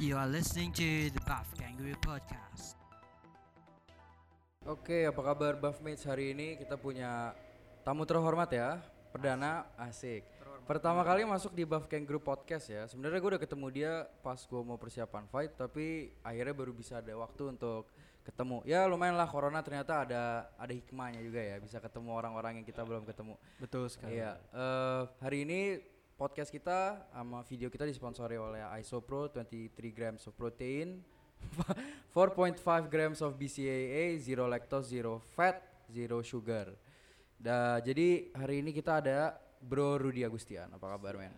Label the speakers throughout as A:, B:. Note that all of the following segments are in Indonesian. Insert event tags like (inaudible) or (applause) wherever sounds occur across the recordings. A: You are listening to the Buff Kangaroo Podcast.
B: Oke, apa kabar Buffmates? Hari ini kita punya tamu terhormat ya. Perdana asik. Pertama kali masuk di Buff Kangaroo Podcast ya. Sebenarnya gue udah ketemu dia pas gue mau persiapan fight, tapi akhirnya baru bisa ada waktu untuk ketemu. Ya lumayan lah corona ternyata ada ada hikmahnya juga ya, bisa ketemu orang-orang yang kita belum ketemu.
C: Betul sekali.
B: Iya, eh, hari ini podcast kita sama video kita disponsori oleh Isopro 23 grams of protein, (laughs) 4.5 grams of BCAA, zero lactose, zero fat, zero sugar. Dah, jadi hari ini kita ada Bro Rudi Agustian. Apa kabar, men?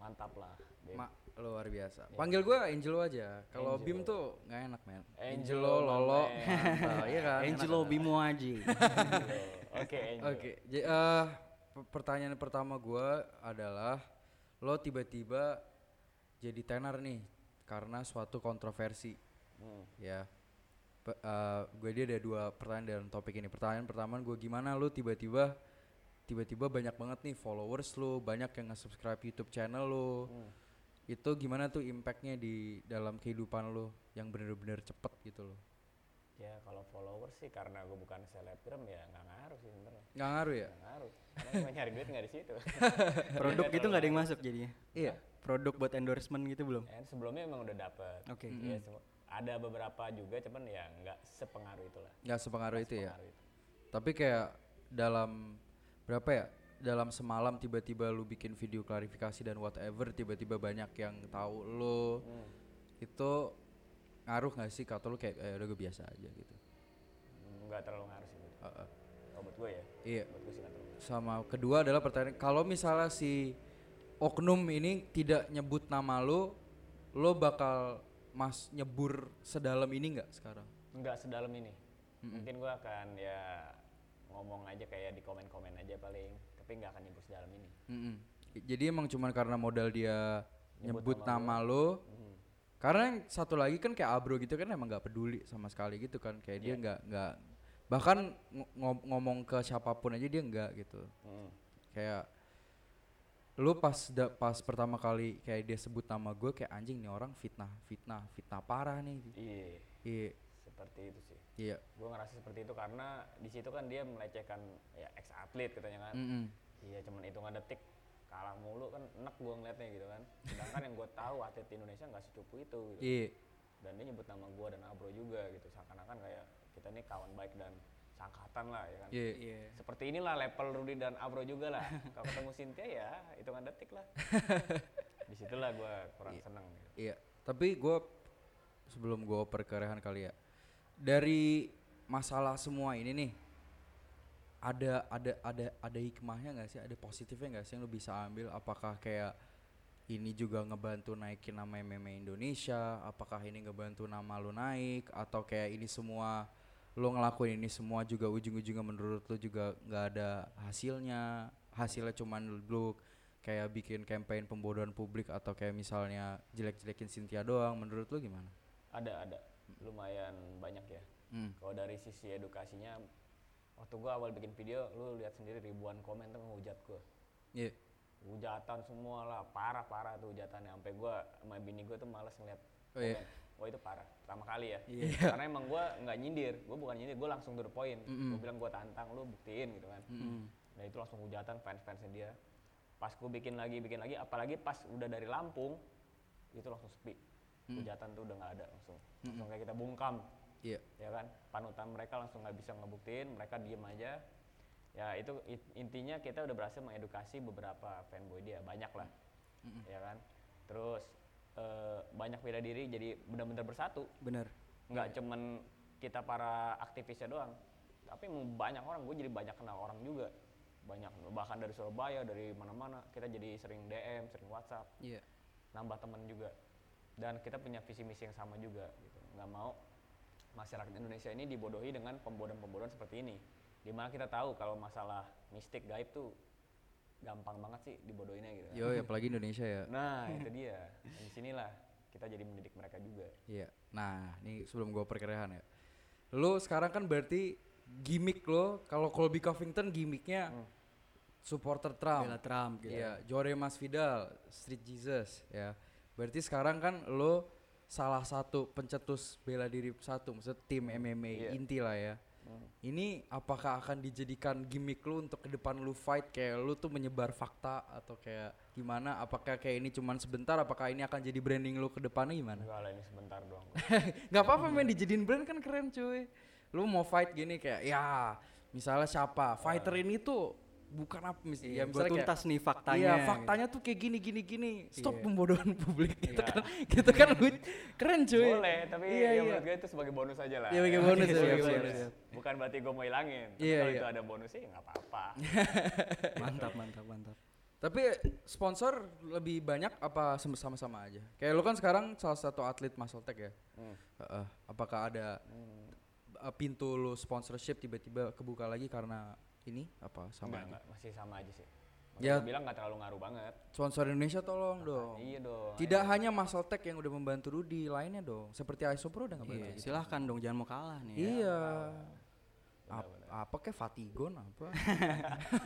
D: mantap lah Iya. Beb.
B: Mak, luar biasa. Panggil gue Angelo aja. Kalau Bim tuh nggak enak, men.
D: Angelo,
B: Lolo,
D: men.
B: mantap. (laughs) Iya kan? Enak
C: Angelo
B: kan?
C: Bimo Aji.
D: oke Angel.
B: Oke, j- eh, p- pertanyaan pertama gua adalah lo tiba-tiba jadi tenar nih karena suatu kontroversi,
D: Hmm.
B: ya. Pe- eh, gue dia ada dua pertanyaan dalam topik ini. Pertanyaan pertama gue gimana lo tiba-tiba tiba-tiba banyak banget nih followers lo, banyak yang nge-subscribe YouTube channel lo.
D: Hmm.
B: Itu gimana tuh impactnya di dalam kehidupan lo yang bener-bener cepet gitu lo?
D: ya kalau follower sih karena gue bukan selebgram ya nggak ngaruh sih sebenarnya
B: Nggak ngaruh ya?
D: nggak ngaruh karena gue nyari duit nggak di situ
C: Produk gitu nggak ada yang masuk jadinya.
B: Iya.
C: Produk buat endorsement gitu belum.
B: Eh,
D: Dan Kan sebelumnya emang udah dapet
C: Oke.
D: Iya, semu- ada beberapa juga cuman ya nggak sepengaruh itulah
B: Nggak sepengaruh itu ya?
D: pengaruh itu
B: Tapi kayak dalam berapa ya? Dalam semalam tiba-tiba lu bikin video klarifikasi dan whatever tiba-tiba banyak yang tahu lu. Itu ngaruh gak sih kata lu kayak eh, udah gue biasa aja gitu.
D: nggak terlalu ngaruh sih gitu.
B: Heeh.
D: Kalau buat gue ya
B: Iya.
D: buat gue sih nggak terlalu ngaruh.
B: Sama kedua adalah pertanyaan kalau misalnya si Oknum ini tidak nyebut nama lu, lo bakal mas nyebur sedalam ini nggak sekarang?
D: nggak sedalam ini mungkin gue akan ya ngomong aja kayak di komen-komen aja paling tapi nggak akan nyebut sedalam ini
B: Mm-mm. Jadi emang cuman karena modal dia nyebut, nama, lo. Karena yang satu lagi kan kayak Abro gitu kan emang nggak peduli sama sekali gitu kan kayak dia nggak nggak bahkan ngo- ngo- ngomong ke siapapun aja dia nggak gitu.
D: Hmm.
B: Kayak lu pas da- pas pertama kali kayak dia sebut nama gue kayak anjing nih orang fitnah fitnah fitnah parah nih.
D: iya
B: Iya
D: seperti itu sih
B: iya.
D: gue ngerasa seperti itu karena di situ kan dia melecehkan ya ex atlet katanya kan
B: Mm-mm.
D: iya cuman hitungan detik kalah mulu kan enak gue ngeliatnya gitu kan sedangkan yang gue tahu atlet Indonesia nggak secupu itu gitu
B: Iya.
D: dan dia nyebut nama gue dan Abro juga gitu seakan-akan kayak kita nih kawan baik dan sangkatan lah ya kan
B: Iya.
D: seperti inilah level Rudy dan Abro juga lah kalau ketemu Cynthia ya hitungan detik lah disitulah gue kurang seneng gitu.
B: Iya, tapi gue sebelum gue oper ke Rehan kali ya, dari masalah semua ini nih, ada ada ada ada hikmahnya nggak sih, ada positifnya nggak sih yang lo bisa ambil? Apakah kayak ini juga ngebantu naikin nama MMA Indonesia? Apakah ini ngebantu nama lo naik? Atau kayak ini semua lo ngelakuin ini semua juga ujung-ujungnya menurut lo juga nggak ada hasilnya? Hasilnya cuman lo kayak bikin campaign pembodohan publik atau kayak misalnya jelek-jelekin Cynthia doang menurut lu gimana?
D: Ada, ada. Lumayan banyak ya. Kalau dari sisi edukasinya, waktu gua awal bikin video, lu lihat sendiri ribuan komen tuh ngehujat gua.
B: Iya.
D: Hujatan semua lah, parah-parah tuh hujatannya. Sampai gua sama bini gua tuh males ngeliat
B: Oh, iya.
D: komen. Wah itu parah, pertama kali ya. (laughs) Karena emang gua nggak nyindir, gua bukan nyindir, gua langsung to the point. Gua bilang gua tantang, lu buktiin gitu kan. Nah itu langsung hujatan fans-fansnya dia. Pas gua bikin lagi, bikin lagi, apalagi pas udah dari Lampung, itu langsung sepi.
B: Mm.
D: Hujatan tuh udah nggak ada langsung. Langsung kayak kita bungkam
B: Iya.
D: ya kan panutan mereka langsung nggak bisa ngebuktiin mereka diem aja ya itu it- intinya kita udah berhasil mengedukasi beberapa fanboy dia banyak lah ya kan terus eh, banyak beda diri jadi benar-benar bersatu
C: Bener.
D: nggak cuman kita para aktivisnya doang tapi mau banyak orang gue jadi banyak kenal orang juga banyak bahkan dari Surabaya dari mana-mana kita jadi sering DM sering WhatsApp
B: Iya.
D: nambah teman juga dan kita punya visi misi yang sama juga gitu nggak mau masyarakat Indonesia ini dibodohi dengan pembodohan-pembodohan seperti ini dimana kita tahu kalau masalah mistik gaib tuh gampang banget sih dibodohinnya gitu kan.
B: Yo, apalagi Indonesia ya.
D: nah itu dia di sinilah kita jadi mendidik mereka juga
B: Iya. Nah, ini sebelum gua perkerehan ya. Lu sekarang kan berarti gimmick lo kalau Colby Covington gimmicknya supporter Trump.
C: Bela Trump gitu.
B: Iya, Jore Masvidal, Street Jesus ya. Berarti sekarang kan lo salah satu pencetus bela diri satu maksud tim MMA
D: Iya.
B: inti lah ya
D: Hmm.
B: ini apakah akan dijadikan gimmick lu untuk ke depan lu fight kayak lu tuh menyebar fakta atau kayak gimana apakah kayak ini cuman sebentar apakah ini akan jadi branding lu ke depannya gimana
D: Enggak lah ini sebentar doang.
B: (laughs) nggak apa-apa men dijadiin brand kan keren cuy lu mau fight gini kayak ya misalnya siapa fighter ini tuh bukan apa mis-
C: Ah.
B: ya,
C: Iya, gua
B: misalnya kayak-
C: tuntas nih faktanya.
B: Iya,
C: gitu.
B: faktanya tuh kayak gini gini gini. Stop
C: Iya.
B: pembodohan (laughs) publik gitu
D: Iya.
B: kan. Gitu kan
C: (laughs)
B: lu- keren cuy.
D: Boleh, tapi
B: iya,
D: ya
B: iya.
D: menurut gue itu sebagai bonus aja lah.
B: Iya, sebagai
D: (laughs)
B: bonus,
D: Sebagai
B: sebagai
D: bonus.
B: bonus.
D: Bukan berarti gue mau hilangin. Tapi
B: Iya,
D: kalau
B: iya.
D: itu ada bonusnya ya nggak
B: (laughs)
D: apa-apa.
C: Gitu. Mantap, mantap, mantap.
B: Tapi sponsor lebih banyak apa sem- sama-sama aja? Kayak lu kan sekarang salah satu atlet muscle tech ya.
D: Hmm.
B: Heeh. apakah ada
D: Hmm.
B: eh, pintu lu sponsorship tiba-tiba kebuka lagi karena ini apa sama
D: Enggak,
B: aja?
D: enggak, masih sama aja sih.
B: Ya.
D: Ya. bilang nggak terlalu ngaruh banget.
B: Sponsor Indonesia tolong dong.
D: Iya dong.
B: Tidak hanya muscle tech yang udah membantu Rudy, lainnya dong. Seperti Isopro udah nggak
C: Iya,
B: bantu. gitu.
C: silahkan dong, jangan mau kalah nih. ya.
B: Iya.
D: Benar,
B: Ap- apa kayak Fatigon apa? (laughs)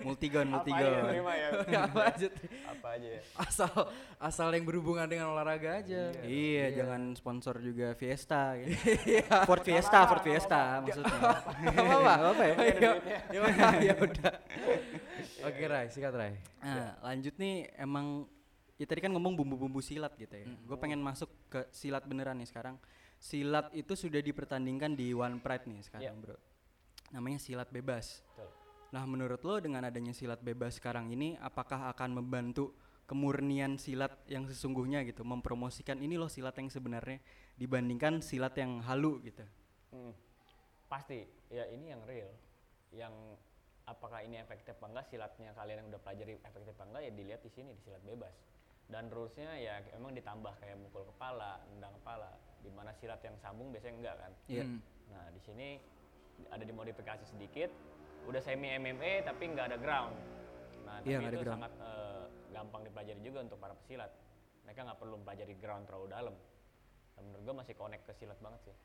C: Multigon,
D: Apa aja
C: multigon.
D: terima ya?
B: (laughs) apa aja tuh?
D: Apa aja ya?
B: asal asal yang berhubungan dengan olahraga aja.
C: Iya, jangan sponsor juga Fiesta. Gitu.
B: Iya.
C: Ford Fiesta, Ford Fiesta maksudnya.
B: Gak apa-apa. apa ya? (laughs)
D: Ada duitnya.
B: Ya udah. Oke Rai, sikat Rai.
C: Nah, lanjut nih emang ya tadi kan ngomong bumbu-bumbu silat gitu ya. Gue pengen masuk ke silat beneran nih sekarang. Silat itu sudah dipertandingkan di One Pride nih sekarang, Bro. Namanya silat bebas.
D: Betul.
C: Nah, menurut lo dengan adanya silat bebas sekarang ini apakah akan membantu kemurnian silat yang sesungguhnya gitu, mempromosikan ini loh silat yang sebenarnya dibandingkan silat yang halu gitu.
D: Hmm. Pasti. Ya ini yang real. Yang apakah ini efektif apa enggak silatnya kalian yang udah pelajari efektif apa enggak ya dilihat di sini di silat bebas. Dan rulesnya ya emang ditambah kayak mukul kepala, nendang kepala. Dimana silat yang sambung biasanya enggak kan.
C: Iya.
D: Nah di sini ada dimodifikasi sedikit. Udah semi MMA tapi nggak ada ground. Nah tapi
C: Iya, nggak ada
D: itu
C: ground.
D: sangat eh, gampang dipelajari juga untuk para pesilat. Mereka nggak perlu mempelajari ground terlalu dalam. Dan menurut gue masih connect ke silat banget sih.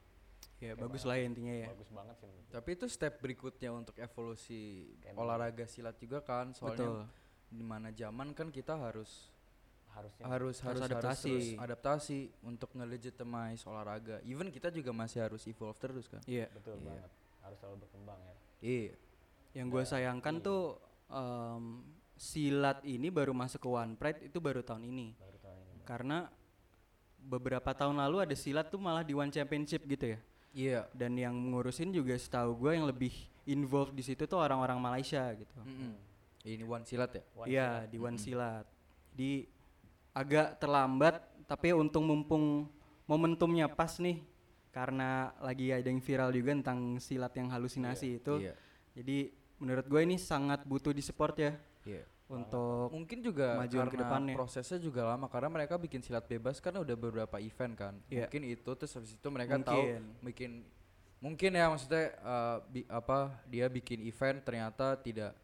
C: Ya, bagus lah ya intinya ya.
D: Bagus banget sih menurut gua.
B: Tapi itu step berikutnya untuk evolusi
D: Kayak
B: olahraga silat juga kan,
C: Betul.
B: soalnya di mana zaman kan kita harus
D: Harusnya.
B: harus harus adaptasi.
C: adaptasi.
B: harus terus adaptasi untuk ngelegitimize olahraga. Even kita juga masih harus evolve terus kan.
C: Iya.
D: Betul
B: Iya.
D: banget. Harus selalu berkembang ya.
B: Iya.
C: Yang
D: Nah,
C: gue sayangkan
D: iya.
C: tuh em, silat ini baru masuk ke One Pride itu baru tahun ini.
D: Baru tahun ini.
C: Karena beberapa tahun lalu ada silat tuh malah di One Championship gitu ya.
B: Iya.
C: Dan yang ngurusin juga setahu gue yang lebih involved di situ tuh orang-orang Malaysia gitu.
B: Mm-mm. Ini one silat ya?
D: One
C: Iya di One silat. Di agak terlambat tapi untung mumpung momentumnya pas nih karena lagi ada yang viral juga tentang silat yang halusinasi itu.
B: Iya.
C: Jadi menurut gue ini sangat butuh di support ya
B: Iya.
C: untuk
B: Mungkin juga
C: Kemajuan
B: karena
C: kedepannya.
B: prosesnya juga lama karena mereka bikin silat bebas kan udah beberapa event kan.
C: Iya.
B: Mungkin itu terus habis itu mereka tahu
C: Mungkin.
B: bikin mungkin ya maksudnya eh, bi- apa dia bikin event ternyata tidak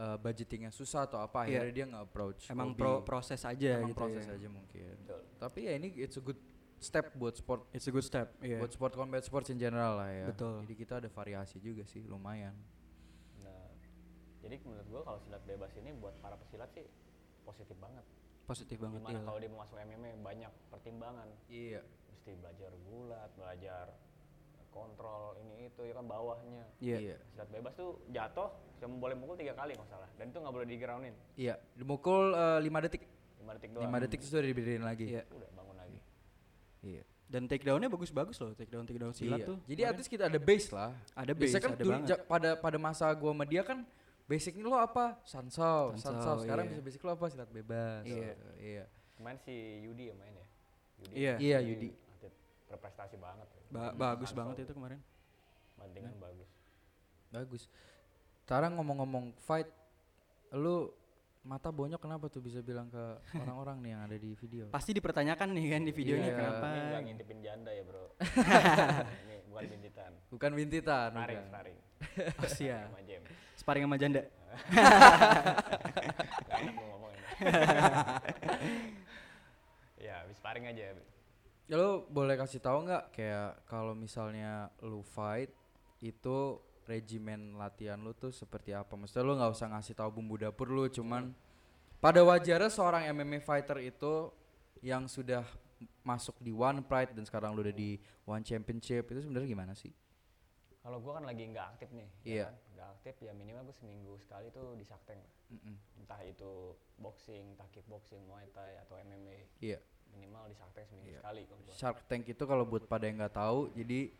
B: eh, budgetingnya susah atau apa
C: Iya.
B: akhirnya dia nggak approach.
C: emang
B: hobi.
C: pro proses aja
B: Emang
C: gitu.
B: proses
C: ya.
B: aja mungkin.
D: Betul.
B: Tapi ya ini it's a good step buat sport
C: It's a good step. iya.
B: buat sport combat sports in general lah ya.
C: Betul.
B: Jadi kita ada variasi juga sih lumayan.
D: Nah, jadi menurut gua kalau silat bebas ini buat para pesilat sih positif banget.
C: Positif banget
D: Gimana
C: ya.
D: kalau dia mau masuk MMA banyak pertimbangan.
B: Iya.
D: Mesti belajar gulat, belajar kontrol ini itu ya kan bawahnya.
C: Iya.
B: Iya.
D: Silat bebas tuh jatuh cuma boleh mukul tiga kali nggak salah. Dan itu nggak boleh digroundin.
B: Iya, dimukul 5 detik.
D: Lima detik doang.
B: 5 detik sudah diberiin lagi.
C: Iya.
D: Udah bangun lagi.
B: Iya.
C: Dan take down-nya bagus-bagus loh, take down take down silat
B: Iya.
C: tuh.
B: Jadi at least kita ada base lah.
C: Ada
B: Biasanya
C: base,
B: kan
C: ada
B: dulu
C: banget.
B: ja- pada pada masa gua sama dia kan basicnya lo apa? Sansau,
C: Sansau,
B: sansau. Sekarang
C: iya.
B: bisa basic lo apa? Silat bebas.
C: Iya.
B: Gitu, Iya.
D: Main si Yudi ya main ya. Yudi.
C: Iya.
B: Iya,
D: Ini
B: Yudi.
D: Atlet berprestasi banget.
C: Ba- bagus banget itu kemarin.
D: Bantingan bagus.
B: Bagus. Sekarang ngomong-ngomong fight, lu mata bonyok kenapa tuh bisa bilang
C: (laughs)
B: ke orang-orang nih yang ada di video?
C: Pasti dipertanyakan nih kan di videonya
B: Iya.
C: kenapa.
D: Ini nggak ngintipin janda ya
B: (laughs)
D: bro. ini bukan bintitan.
B: Bukan bintitan.
D: Sparring,
B: bukan.
D: sparring.
C: Oh, siap.
D: Sama James.
C: Sparring sama janda.
D: Gak enak gua
B: (laughs)
D: ngomong ini. ya, habis sparring aja.
B: Ya lu boleh kasih tahu nggak kayak kalau misalnya lu fight itu regimen latihan lu tuh seperti apa? Maksudnya lu nggak usah ngasih tahu bumbu dapur lu, cuman pada wajarnya seorang MMA fighter itu yang sudah masuk di One Pride dan sekarang lu udah di One Championship itu sebenarnya gimana sih?
D: Kalau gue kan lagi nggak aktif nih,
B: Iya.
D: ya kan? nggak aktif ya minimal gue seminggu sekali tuh di Sakteng.
B: Mm-mm.
D: Entah itu boxing, entah kickboxing, muay thai atau MMA
B: Iya.
D: minimal di Sakteng seminggu
B: Iya.
D: sekali kalau gue.
B: Shark Tank itu kalau buat pada yang nggak tahu, jadi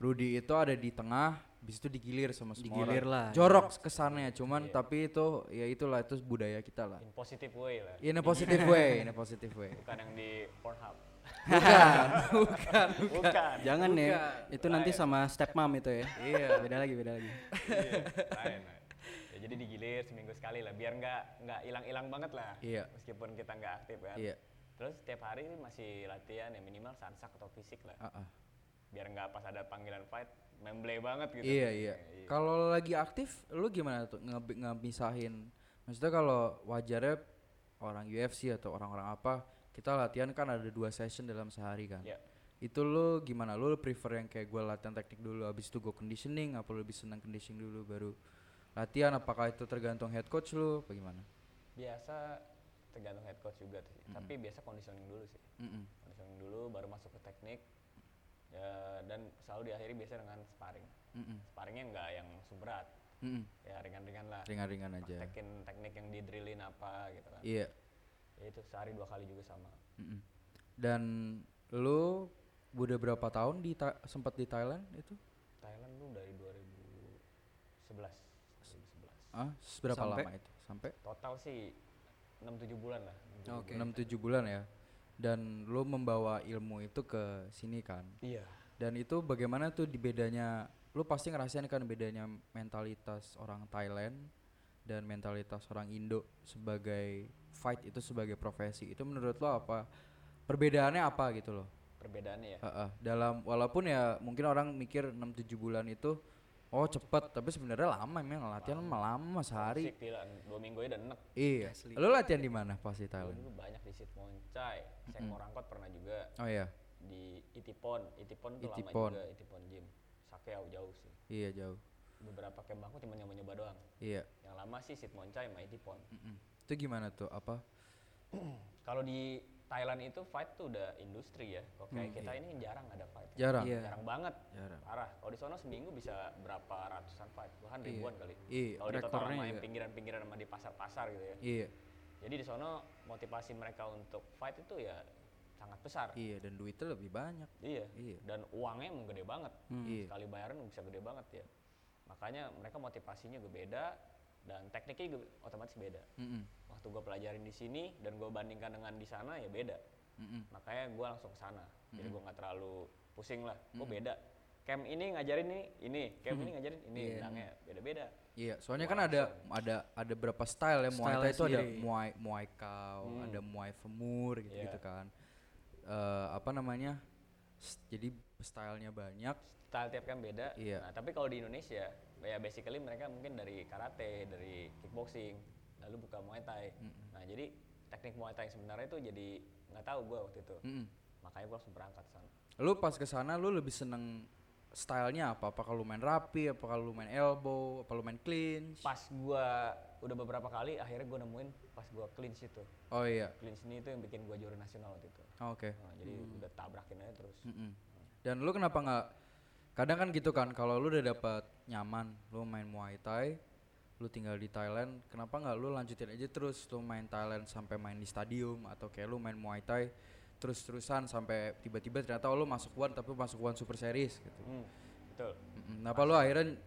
B: Rudy itu ada di tengah, bis itu digilir sama semua
C: Digilir
B: orang.
C: lah.
B: Jorok kesannya, cuman
D: Iya.
B: tapi itu ya itulah itu budaya kita lah.
D: In positive way lah,
B: In a positive way, in a positive way.
D: bukan yang di
B: (laughs)
D: Pornhub.
C: (laughs)
B: Bukan, bukan.
D: bukan.
C: Jangan ya.
B: Bukan.
C: Itu nanti sama stepmom itu ya.
B: Iya.
C: beda lagi, beda lagi.
D: Iya, lain, lain. Ya, jadi digilir seminggu sekali lah, biar nggak nggak hilang-hilang banget lah.
B: Iya.
D: Meskipun kita nggak aktif kan.
B: Iya.
D: Terus setiap hari sih masih latihan ya minimal sansak atau fisik lah.
B: Ah, ah.
D: Biar nggak pas ada panggilan fight memble banget gitu.
B: Iya iya. Kalau lagi aktif, lu gimana tuh nge- ngemisahin? Maksudnya kalau wajarnya orang UFC atau orang-orang apa, kita latihan kan ada dua session dalam sehari kan.
D: Iya.
B: Itu lu gimana? Lu prefer yang kayak gue latihan teknik dulu, habis itu gue conditioning, apa lu lebih senang conditioning dulu baru latihan? Apakah itu tergantung head coach lu? Apa gimana?
D: Biasa tergantung head coach juga tuh sih. Tapi biasa conditioning dulu sih.
B: Mm-mm.
D: Conditioning dulu baru masuk ke teknik. Ya, dan selalu diakhiri biasa dengan sparring.
B: Mm-mm.
D: Sparringnya nggak yang langsung berat.
B: Mm-mm.
D: Ya ringan-ringan lah.
B: Ringan-ringan aja.
D: Praktekin teknik yang didrillin apa gitu kan.
B: Iya.
D: Ya itu sehari dua kali juga sama.
B: Mm-mm. Dan lu udah berapa tahun di Tha- sempat di Thailand itu?
D: Thailand tuh dari 2011. 2011.
B: Ah, berapa
C: Sampai?
B: lama itu? Sampai
D: Total sih 6-7 bulan lah. 6-7
C: Oke.
B: enam 6 7 bulan ya. Dan lu membawa ilmu itu ke sini kan.
D: Iya.
B: Dan itu bagaimana tuh di bedanya lu pasti ngerasain kan bedanya mentalitas orang Thailand dan mentalitas orang Indo sebagai fight itu sebagai profesi. Itu menurut lo apa? Perbedaannya apa gitu loh?
D: Perbedaannya ya.
B: Heeh, dalam walaupun ya mungkin orang mikir 6 7 bulan itu oh cepet tapi sebenarnya lama memang latihan mah lama sehari.
D: Sik, gila, dua minggu aja udah enek.
B: Iya. Lu latihan di mana pas di
D: Dulu
B: Thailand?
D: dulu banyak di Sit Moncai, Seng Morangkot pernah juga
B: Oh iya,
D: di Itipon, Itipon tuh
B: Itipon.
D: lama juga Itipon Gym. Sakeau jauh sih.
B: iya jauh.
D: Beberapa camp aku cuma nyoba-nyoba doang.
B: Iya.
D: Yang lama sih Sit Moncai sama Itipon.
B: Mm-mm. Itu gimana tuh? Apa?
D: Kalau di Thailand itu fight tuh udah industri ya. Kok kayak kita ini jarang ada fight.
B: Jarang.
C: Iya.
D: Jarang banget.
B: Jarang.
D: Parah. Kalau di sono seminggu bisa berapa ratusan fight, bahkan ribuan kali.
B: Iya,
D: Kalau di total
B: rekornya
D: sama yang
B: juga.
D: pinggiran-pinggiran sama di pasar-pasar gitu ya.
B: Iya.
D: Jadi di sono motivasi mereka untuk fight itu ya sangat besar.
B: Iya, dan duitnya lebih banyak.
D: Iya.
B: Iya.
D: Dan uangnya emang gede banget.
B: Iya.
D: Sekali bayaran bisa gede banget ya. Makanya mereka motivasinya juga beda dan tekniknya juga otomatis beda.
B: Mm-mm.
D: Waktu gue pelajarin di sini dan gue bandingkan dengan di sana ya beda.
B: Mm-mm.
D: Makanya gue langsung ke sana. Jadi gue nggak terlalu pusing lah. Gue beda. Camp ini ngajarin ini, ini. Camp ini ngajarin ini. Bilangnya beda-beda.
B: Iya, soalnya kan ada ada ada berapa style ya Muay
C: Style-nya
B: Thai itu ada
C: sendiri.
B: Muay Muay Khao, ada Muay Femur gitu-gitu kan. Eh, apa namanya? S- Jadi stylenya banyak.
D: Style tiap camp beda.
B: Iya.
D: Nah, tapi kalau di Indonesia ya basically mereka mungkin dari karate, dari kickboxing, lalu buka Muay Thai. Nah, jadi teknik Muay Thai sebenarnya itu jadi nggak tahu gue waktu itu.
B: Mm-mm.
D: Makanya gue langsung berangkat ke sana.
B: Lu pas ke sana lu lebih seneng stylenya apa? Apakah lu main rapi, apakah lu main elbow, apa lu main clinch?
D: Pas gue udah beberapa kali akhirnya gue nemuin pas gue clinch itu.
B: Oh iya.
D: Clinch ini itu yang bikin gue juara nasional waktu itu.
B: Oh, Oke.
D: Nah, jadi udah tabrakin aja terus.
B: Mm-mm. Dan lu kenapa nggak? Kadang kan gitu kan, kalau lu udah dapat nyaman, lu main Muay Thai, lu tinggal di Thailand, kenapa nggak lu lanjutin aja terus lu main Thailand sampai main di stadium atau kayak lu main Muay Thai terus-terusan sampai tiba-tiba ternyata oh, lu masuk One tapi masuk One Super Series gitu.
D: Hmm, betul.
B: Mm-mm. Kenapa lu akhirnya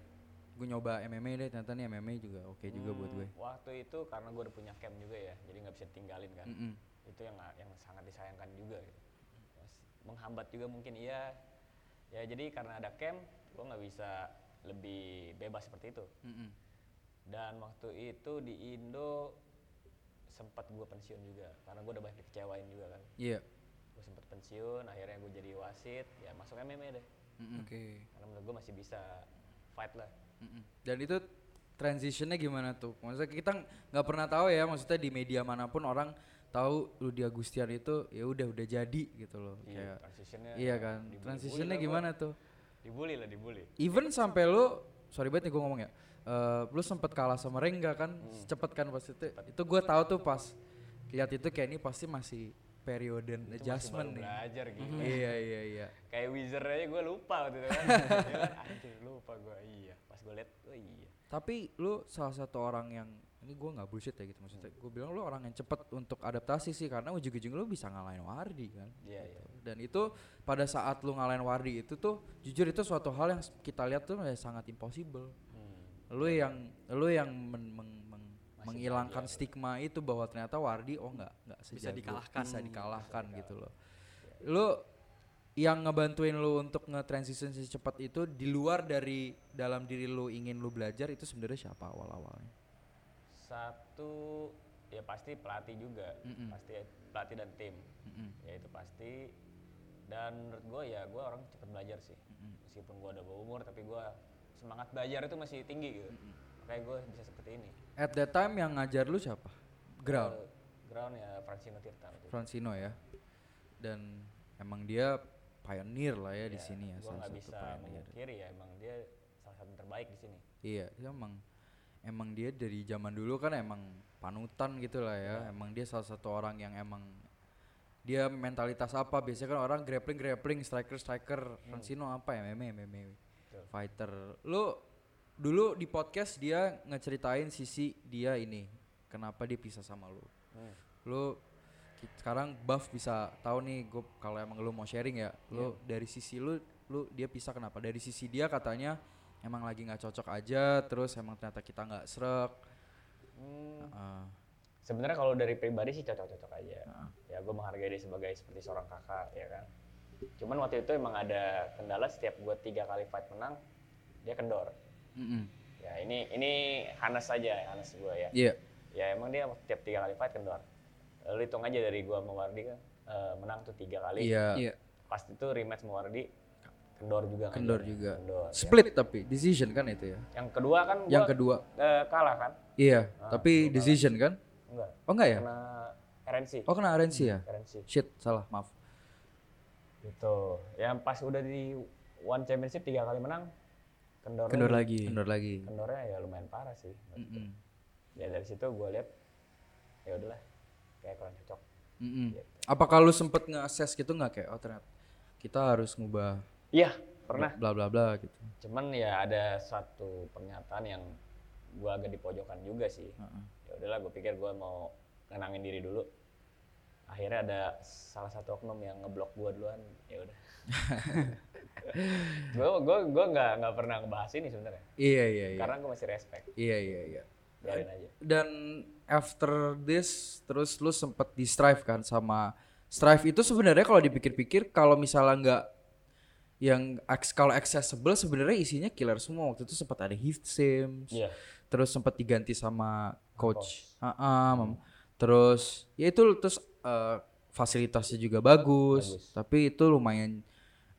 B: gue nyoba MMA deh, ternyata nih MMA juga oke juga buat gue.
D: Waktu itu karena gue udah punya camp juga ya, jadi nggak bisa tinggalin kan.
B: Mm-mm.
D: Itu yang yang sangat disayangkan juga. Gitu. Mas- Menghambat juga mungkin iya. Ya jadi karena ada camp, gue nggak bisa lebih bebas seperti itu.
B: Mm-mm.
D: Dan waktu itu di Indo sempat gue pensiun juga, karena gue udah banyak dikecewain juga kan.
B: Iya.
D: Gue sempat pensiun, akhirnya gue jadi wasit, ya masuk MMA deh.
B: Mm-mm.
C: Oke.
D: Karena menurut gue masih bisa fight lah.
B: Mm-mm. Dan itu transitionnya gimana tuh? Maksudnya kita ng- nggak pernah tahu ya, maksudnya di media manapun orang tahu Rudi Agustian itu ya udah udah jadi gitu loh.
D: Iya,
B: Kayak-
D: transitionnya.
B: iya kan.
D: dibully-bully
B: Transitionnya
D: lah gua.
B: gimana tuh?
D: Dibully lah, dibully.
B: Even sampai lu sorry banget nih gue ngomong ya. Eh, lu sempet kalah sama Rengga kan, cepet kan pas itu. Itu gue tahu tuh pas lihat itu kayak ini pasti masih period and
D: Itu masih
B: adjustment
D: baru
B: nih.
D: belajar gitu
B: Iya iya iya.
D: kayak wizard aja gue lupa waktu itu kan Ya kan, anjir lupa gue iya pas gue liat oh iya
B: Tapi lu salah satu orang yang ini gue nggak bullshit ya gitu maksudnya. Gue bilang lu orang yang cepet untuk adaptasi sih karena ujung-ujung lu bisa ngalahin Wardi kan.
D: iya iya
B: Dan itu pada saat lu ngalahin Wardi itu tuh jujur itu suatu hal yang s- kita lihat tuh eh, sangat impossible.
D: Hmm.
B: Lu yang lu yang men- meng- meng-
D: Masih
B: menghilangkan
D: bahagia.
B: stigma itu bahwa ternyata Wardi oh nggak nggak
C: Bisa
B: sejago,
C: dikalahkan.
B: bisa dikalahkan gitu loh. Lu yang ngebantuin lu untuk nge-transition secepat itu di luar dari dalam diri lu ingin lu belajar itu sebenarnya siapa awal-awalnya?
D: satu ya pasti pelatih juga
B: Mm-mm.
D: pasti pelatih dan tim
B: Mm-mm.
D: ya itu pasti dan menurut gue ya gue orang cepet belajar sih meskipun gue udah berumur tapi gue semangat belajar itu masih tinggi gitu kayak gue bisa seperti ini
B: At that time yang ngajar lu siapa? Ground,
D: Eh, ground ya Francino Tirta waktu itu.
B: Francino ya. Dan emang dia pioneer lah ya di sini ya,
D: gue
B: salah
D: Iya, nggak
B: satu
D: bisa
B: pioneer.
D: memungkiri ya emang dia salah satu terbaik di sini
B: Iya, dia emang emang dia dari zaman dulu kan emang panutan gitu lah
D: Iya.
B: ya. Emang dia salah satu orang yang emang dia mentalitas apa? Biasanya kan orang grappling grappling, striker striker. Francino apa ya? MMA MMA
D: Hmm. Betul.
B: fighter. Lu dulu di podcast dia ngeceritain sisi dia ini. Kenapa dia pisah sama lu?
D: Hmm.
B: Lu ki- sekarang buff bisa tahu nih gue kalau emang lu mau sharing ya.
C: Iya.
B: Lu dari sisi lu lu dia pisah kenapa? Dari sisi dia katanya emang lagi nggak cocok aja terus emang ternyata kita nggak srek
D: Hmm,
B: Heeh.
D: sebenarnya kalau dari pribadi sih cocok-cocok aja
B: Ah.
D: ya gue menghargai dia sebagai seperti seorang kakak ya kan cuman waktu itu emang ada kendala setiap gue tiga kali fight menang dia kendor
B: Mm-mm.
D: ya ini ini Hanes saja Hanes gue ya
B: iya
D: ya emang dia tiap tiga kali fight kendor lu hitung aja dari gue sama Wardi kan eh, menang tuh tiga kali
B: iya
C: Iya.
D: pas itu rematch sama Wardi kendor juga
B: kendor
D: ngajarnya.
B: juga
D: kendor ya.
B: split tapi decision kan itu ya
D: yang kedua kan gua,
B: yang kedua
D: eh, kalah kan
B: iya
D: Ah,
B: tapi decision kan
D: enggak
B: oh enggak ya
D: karena RNC
B: oh kena RNC ya
D: RNC
B: shit salah maaf
D: gitu yang pas udah di one championship tiga kali menang kendor
C: Kendor lagi.
B: kendor lagi
D: kendornya ya lumayan parah sih
B: Mm-mm.
D: ya dari situ gue lihat ya udahlah kayak kurang cocok
B: Mm-mm. apakah lu sempet nge-assess gitu nggak kayak oh ternyata kita harus ngubah
D: iya pernah
B: bla bla bla gitu
D: cuman ya ada satu pernyataan yang gue agak dipojokkan juga sih
B: Heeh.
D: ya udahlah gue pikir gue mau nenangin diri dulu akhirnya ada salah satu oknum yang ngeblok gue duluan ya udah gue gue gue nggak nggak pernah ngebahas ini sebenarnya
B: iya iya iya
D: karena gue masih respect
B: iya iya iya
D: biarin aja
B: dan after this terus lu sempet di strive kan sama strive itu sebenarnya kalau dipikir-pikir kalau misalnya nggak yang aks- kalau accessible sebenarnya isinya killer semua waktu itu sempat ada Heath Sims
D: iya
B: terus sempat diganti sama coach Ah, ah, mam. terus ya itu terus eh, fasilitasnya juga bagus,
D: Bagus.
B: tapi itu lumayan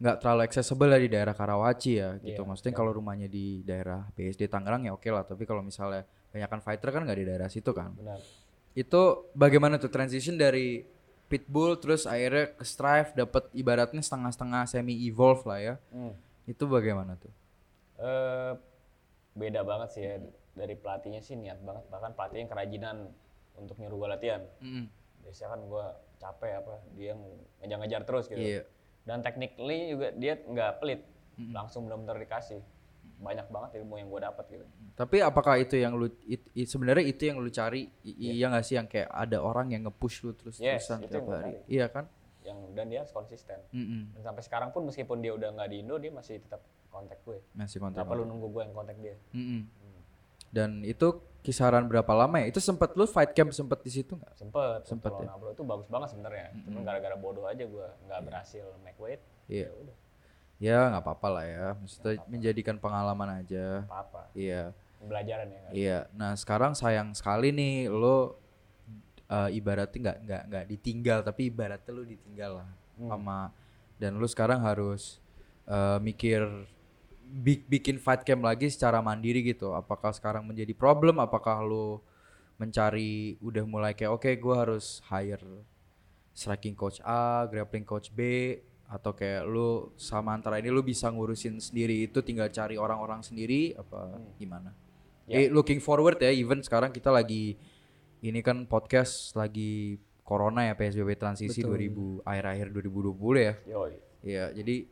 B: nggak terlalu accessible lah di daerah Karawaci ya gitu
D: Iya,
B: maksudnya kalau rumahnya di daerah BSD Tangerang ya oke lah tapi kalau misalnya kebanyakan fighter kan nggak di daerah situ kan
D: benar
B: itu bagaimana tuh transition dari pitbull terus akhirnya ke strive dapat ibaratnya setengah-setengah semi evolve lah ya
D: Hmm.
B: itu bagaimana tuh
D: Eh, beda banget sih ya dari pelatihnya sih niat banget bahkan pelatihnya kerajinan untuk nyuruh gue latihan biasanya kan gue capek apa dia ngejar-ngejar terus gitu
B: Iya.
D: dan technically juga dia nggak pelit langsung benar-benar dikasih banyak banget ilmu yang gue dapat gitu
B: Tapi apakah itu yang lu it- it- sebenarnya itu yang lu cari? I- Iya nggak sih yang kayak ada orang yang nge-push lu terus
D: Yes,
B: terusan
D: itu
B: tiap
D: yang gua
B: hari?
D: cari.
B: Iya kan?
D: yang dan dia harus konsisten
B: Mm-mm.
D: dan sampai sekarang pun meskipun dia udah nggak di Indo dia masih tetap kontak gue
B: Masih konten.
D: nggak perlu nunggu gue yang kontak dia
B: Mm-mm.
D: Hmm.
B: Dan itu kisaran berapa lama ya? Itu sempet lu fight camp sempet di situ nggak?
D: sempet
B: Sempet
D: lawan Abro itu bagus banget sebenarnya cuman gara-gara bodoh aja gue nggak berhasil make weight
B: Iya.
D: ya udah
B: Ya nggak apa-apa lah ya. Maksudnya menjadikan pengalaman aja.
D: apa apa
B: Iya.
D: pembelajaran ya kan?
B: Iya. Nah sekarang sayang sekali nih lo eh, ibaratnya nggak nggak nggak ditinggal tapi ibaratnya lo ditinggal lah sama dan lo sekarang harus eh, mikir bik- bikin fight camp lagi secara mandiri gitu. Apakah sekarang menjadi problem? Apakah lo mencari udah mulai kayak oke gue harus hire striking coach A, grappling coach B atau kayak lu sama antara ini lu bisa ngurusin sendiri itu tinggal cari orang-orang sendiri apa gimana? Eh looking forward ya even sekarang kita lagi ini kan podcast lagi corona ya PSBB transisi 2000 akhir-akhir 2020 ya.
D: Yoi.
B: Iya, jadi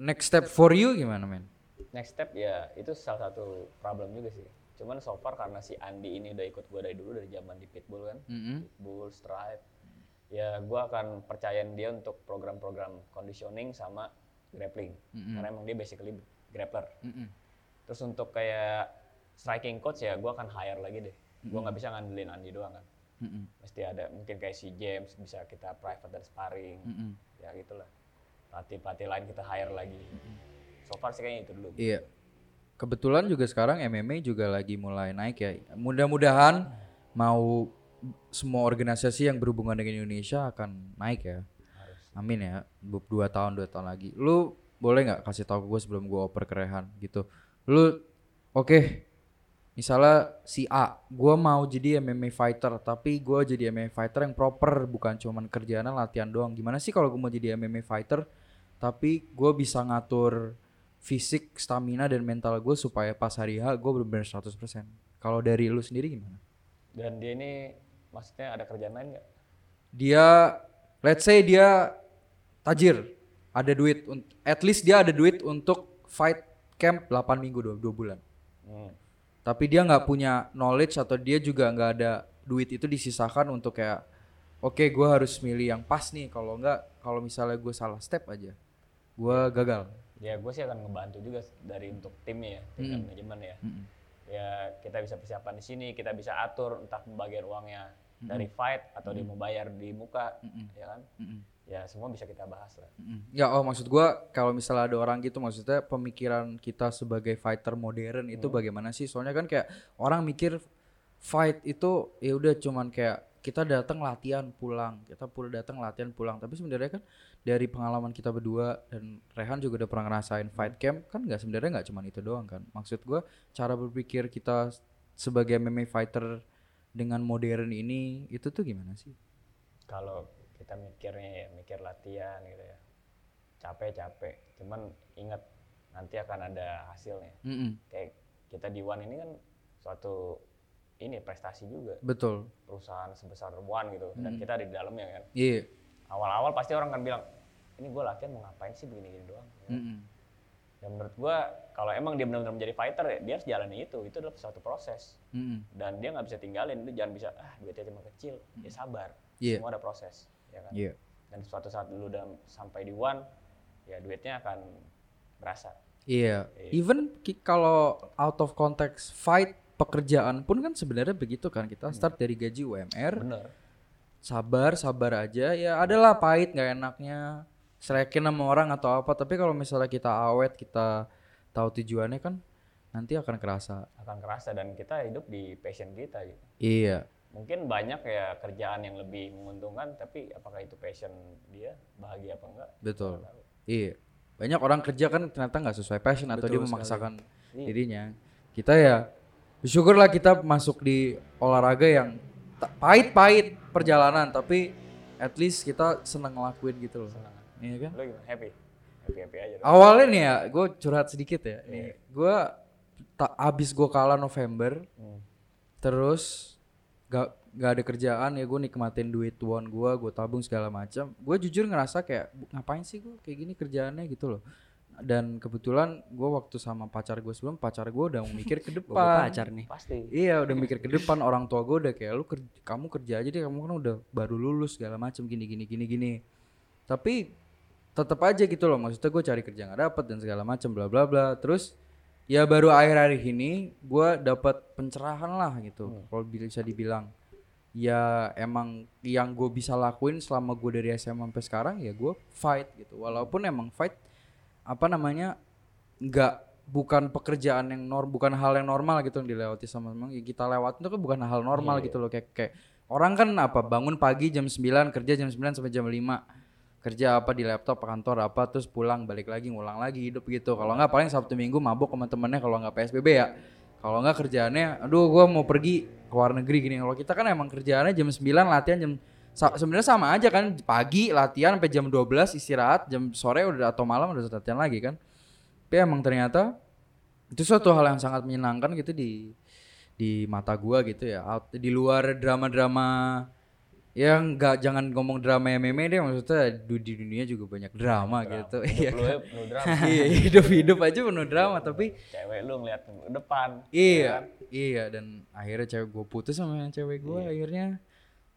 B: next step for you gimana men?
D: Next step ya itu salah satu problem juga sih. Cuman so far karena si Andi ini udah ikut gue dari dulu dari zaman di Pitbull
B: Mm-hmm.
D: kan. Pitbull, Stripe. Ya gue akan percayain dia untuk program-program conditioning sama grappling. Karena emang dia basically grappler. Terus untuk kayak striking coach ya gue akan hire lagi deh. Gue nggak bisa ngandelin Andi doang kan. Mesti ada mungkin kayak si James bisa kita private dan sparring. Ya gitulah. Pelatih-pelatih lain kita hire lagi. So far sih kayaknya itu dulu.
B: Iya. Kebetulan juga sekarang MMA juga lagi mulai naik ya. Mudah-mudahan mau semua organisasi yang berhubungan dengan Indonesia akan naik ya. Amin ya. Bu- Dua tahun dua tahun lagi. Lu boleh nggak kasih tahu ke gue sebelum gue oper ke Rehan gitu. Lu oke. Misalnya si A, gue mau jadi MMA fighter, tapi gue jadi MMA fighter yang proper, bukan cuman kerjaan latihan doang. Gimana sih kalau gue mau jadi MMA fighter, tapi gue bisa ngatur fisik, stamina, dan mental gue supaya pas hari H gue bener-bener 100%. Kalau dari lu sendiri gimana?
D: Dan dia ini maksudnya ada kerjaan lain nggak?
B: Dia, let's say dia tajir, ada duit, un- at least dia ada duit untuk fight camp 8 minggu, 2, bulan.
D: Hmm.
B: Tapi dia nggak punya knowledge atau dia juga nggak ada duit itu disisakan untuk kayak, oke gue harus milih yang pas nih, kalau nggak, kalau misalnya gue salah step aja, gue gagal.
D: Ya gue sih akan ngebantu juga s- dari untuk timnya ya, tim dan manajemen ya. Ya kita bisa persiapan di sini, kita bisa atur entah pembagian uangnya dari fight atau dia mau bayar di muka, ya kan? Ya semua bisa kita bahas lah.
B: Ya, oh maksud gua kalau misalnya ada orang gitu maksudnya pemikiran kita sebagai fighter modern itu bagaimana sih? Soalnya kan kayak orang mikir fight itu ya udah cuman kayak kita datang latihan pulang, kita pulang datang latihan pulang. Tapi sebenarnya kan dari pengalaman kita berdua dan Rehan juga udah pernah ngerasain fight camp kan nggak sebenarnya nggak cuman itu doang kan. Maksud gua cara berpikir kita sebagai MMA fighter dengan modern ini itu tuh gimana sih?
D: Kalau kita mikirnya ya mikir latihan gitu ya, capek capek. Cuman ingat nanti akan ada hasilnya.
B: Mm-mm,
D: Kayak kita di One ini kan suatu ini prestasi juga
B: Betul.
D: perusahaan sebesar One gitu dan kita ada di dalamnya kan.
B: Iya.
D: awal-awal pasti orang akan bilang ini gue latihan mau ngapain sih begini-gini doang
B: Mm-mm.
D: dan menurut gue kalau emang dia benar-benar menjadi fighter ya dia harus jalani itu itu adalah suatu proses
B: Mm-mm.
D: dan dia nggak bisa tinggalin dia jangan bisa ah duitnya cuma kecil ya sabar
B: Iya.
D: semua ada proses ya kan
B: Iya.
D: dan suatu saat lu udah sampai di one ya duitnya akan berasa
B: Iya, even ki- kalau out of context fight pekerjaan pun kan sebenarnya begitu kan kita start dari gaji UMR,
D: bener
B: sabar sabar aja ya adalah pahit nggak enaknya selekin sama orang atau apa tapi kalau misalnya kita awet kita tahu tujuannya kan nanti akan kerasa.
D: akan kerasa dan kita hidup di passion kita gitu
B: Iya,
D: mungkin banyak ya kerjaan yang lebih menguntungkan tapi apakah itu passion dia bahagia apa enggak
B: betul. Iya, banyak orang kerja kan ternyata nggak sesuai passion atau dia memaksakan dirinya. Kita ya bersyukurlah kita masuk di olahraga yang ta- pahit-pahit perjalanan, tapi at least kita seneng ngelakuin gitu loh. Iya kan?
D: lu gimana happy happy happy aja dong.
B: Awalnya nih ya, gue curhat sedikit ya. Gue ta- abis gue kalah November, terus gak gak ada kerjaan ya gue nikmatin duit tuan gue, gue tabung segala macam. Gue jujur ngerasa kayak "Bu, ngapain sih gue kayak gini kerjaannya gitu loh. Dan kebetulan gue waktu sama pacar gue sebelum pacar gue udah mikir ke depan.
C: pacar nih.
D: pasti
B: Iya udah mikir ke depan orang tua gue udah kayak lu kerja, kamu kerja aja deh kamu kan udah baru lulus segala macem gini gini gini gini. Tapi tetap aja gitu loh maksudnya gue cari kerja nggak dapet dan segala macem bla bla bla. Terus ya baru akhir-akhir ini gue dapat pencerahan lah gitu kalau bisa dibilang ya emang yang gue bisa lakuin selama gue dari SMA sampai sekarang ya gue fight gitu walaupun emang fight apa namanya nggak bukan pekerjaan yang norm bukan hal yang normal gitu yang dilewati sama memang kita lewat itu kan bukan hal normal gitu loh kayak kayak orang kan apa bangun pagi jam 9 kerja jam 9 sampai jam 5 kerja apa di laptop kantor apa terus pulang balik lagi ngulang lagi hidup gitu kalau nggak paling sabtu minggu mabuk sama temennya kalau nggak psbb ya kalau nggak kerjaannya aduh gua mau pergi ke luar negeri gini kalau kita kan emang kerjaannya jam 9 latihan jam sa- sebenarnya sama aja kan pagi latihan sampai jam 12 istirahat jam sore udah atau malam udah latihan lagi kan tapi emang ternyata itu suatu hal yang sangat menyenangkan gitu di di mata gua gitu ya Out- di luar drama-drama Ya nggak jangan ngomong drama MMA deh maksudnya du- di dunia juga banyak drama, gitu. Iya.
D: Lu ya penuh drama.
B: kan? Iya, hidup-hidup aja penuh drama tapi
D: Cewek lu ngeliat ke depan.
B: iya, iya dan akhirnya cewek gue putus sama yang cewek gue akhirnya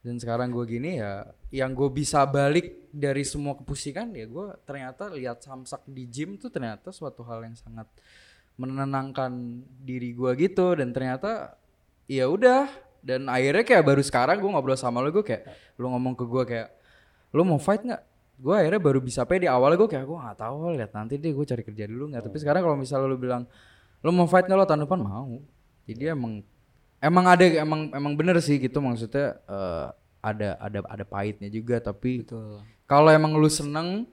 B: dan sekarang gue gini ya yang gue bisa balik dari semua kepusingan ya gue ternyata lihat samsak di gym tuh ternyata suatu hal yang sangat menenangkan diri gue gitu dan ternyata ya udah dan akhirnya kayak baru sekarang gue ngobrol sama lo gue kayak lo ngomong ke gue kayak lo mau fight nggak gue akhirnya baru bisa pede awalnya gue kayak gue nggak tahu lihat nanti deh gue cari kerja dulu nggak tapi sekarang kalau misalnya lo bilang lo mau fight nggak lo tahun depan mau jadi emang emang ada emang emang bener sih gitu maksudnya eh, ada ada ada pahitnya juga tapi kalau emang lu seneng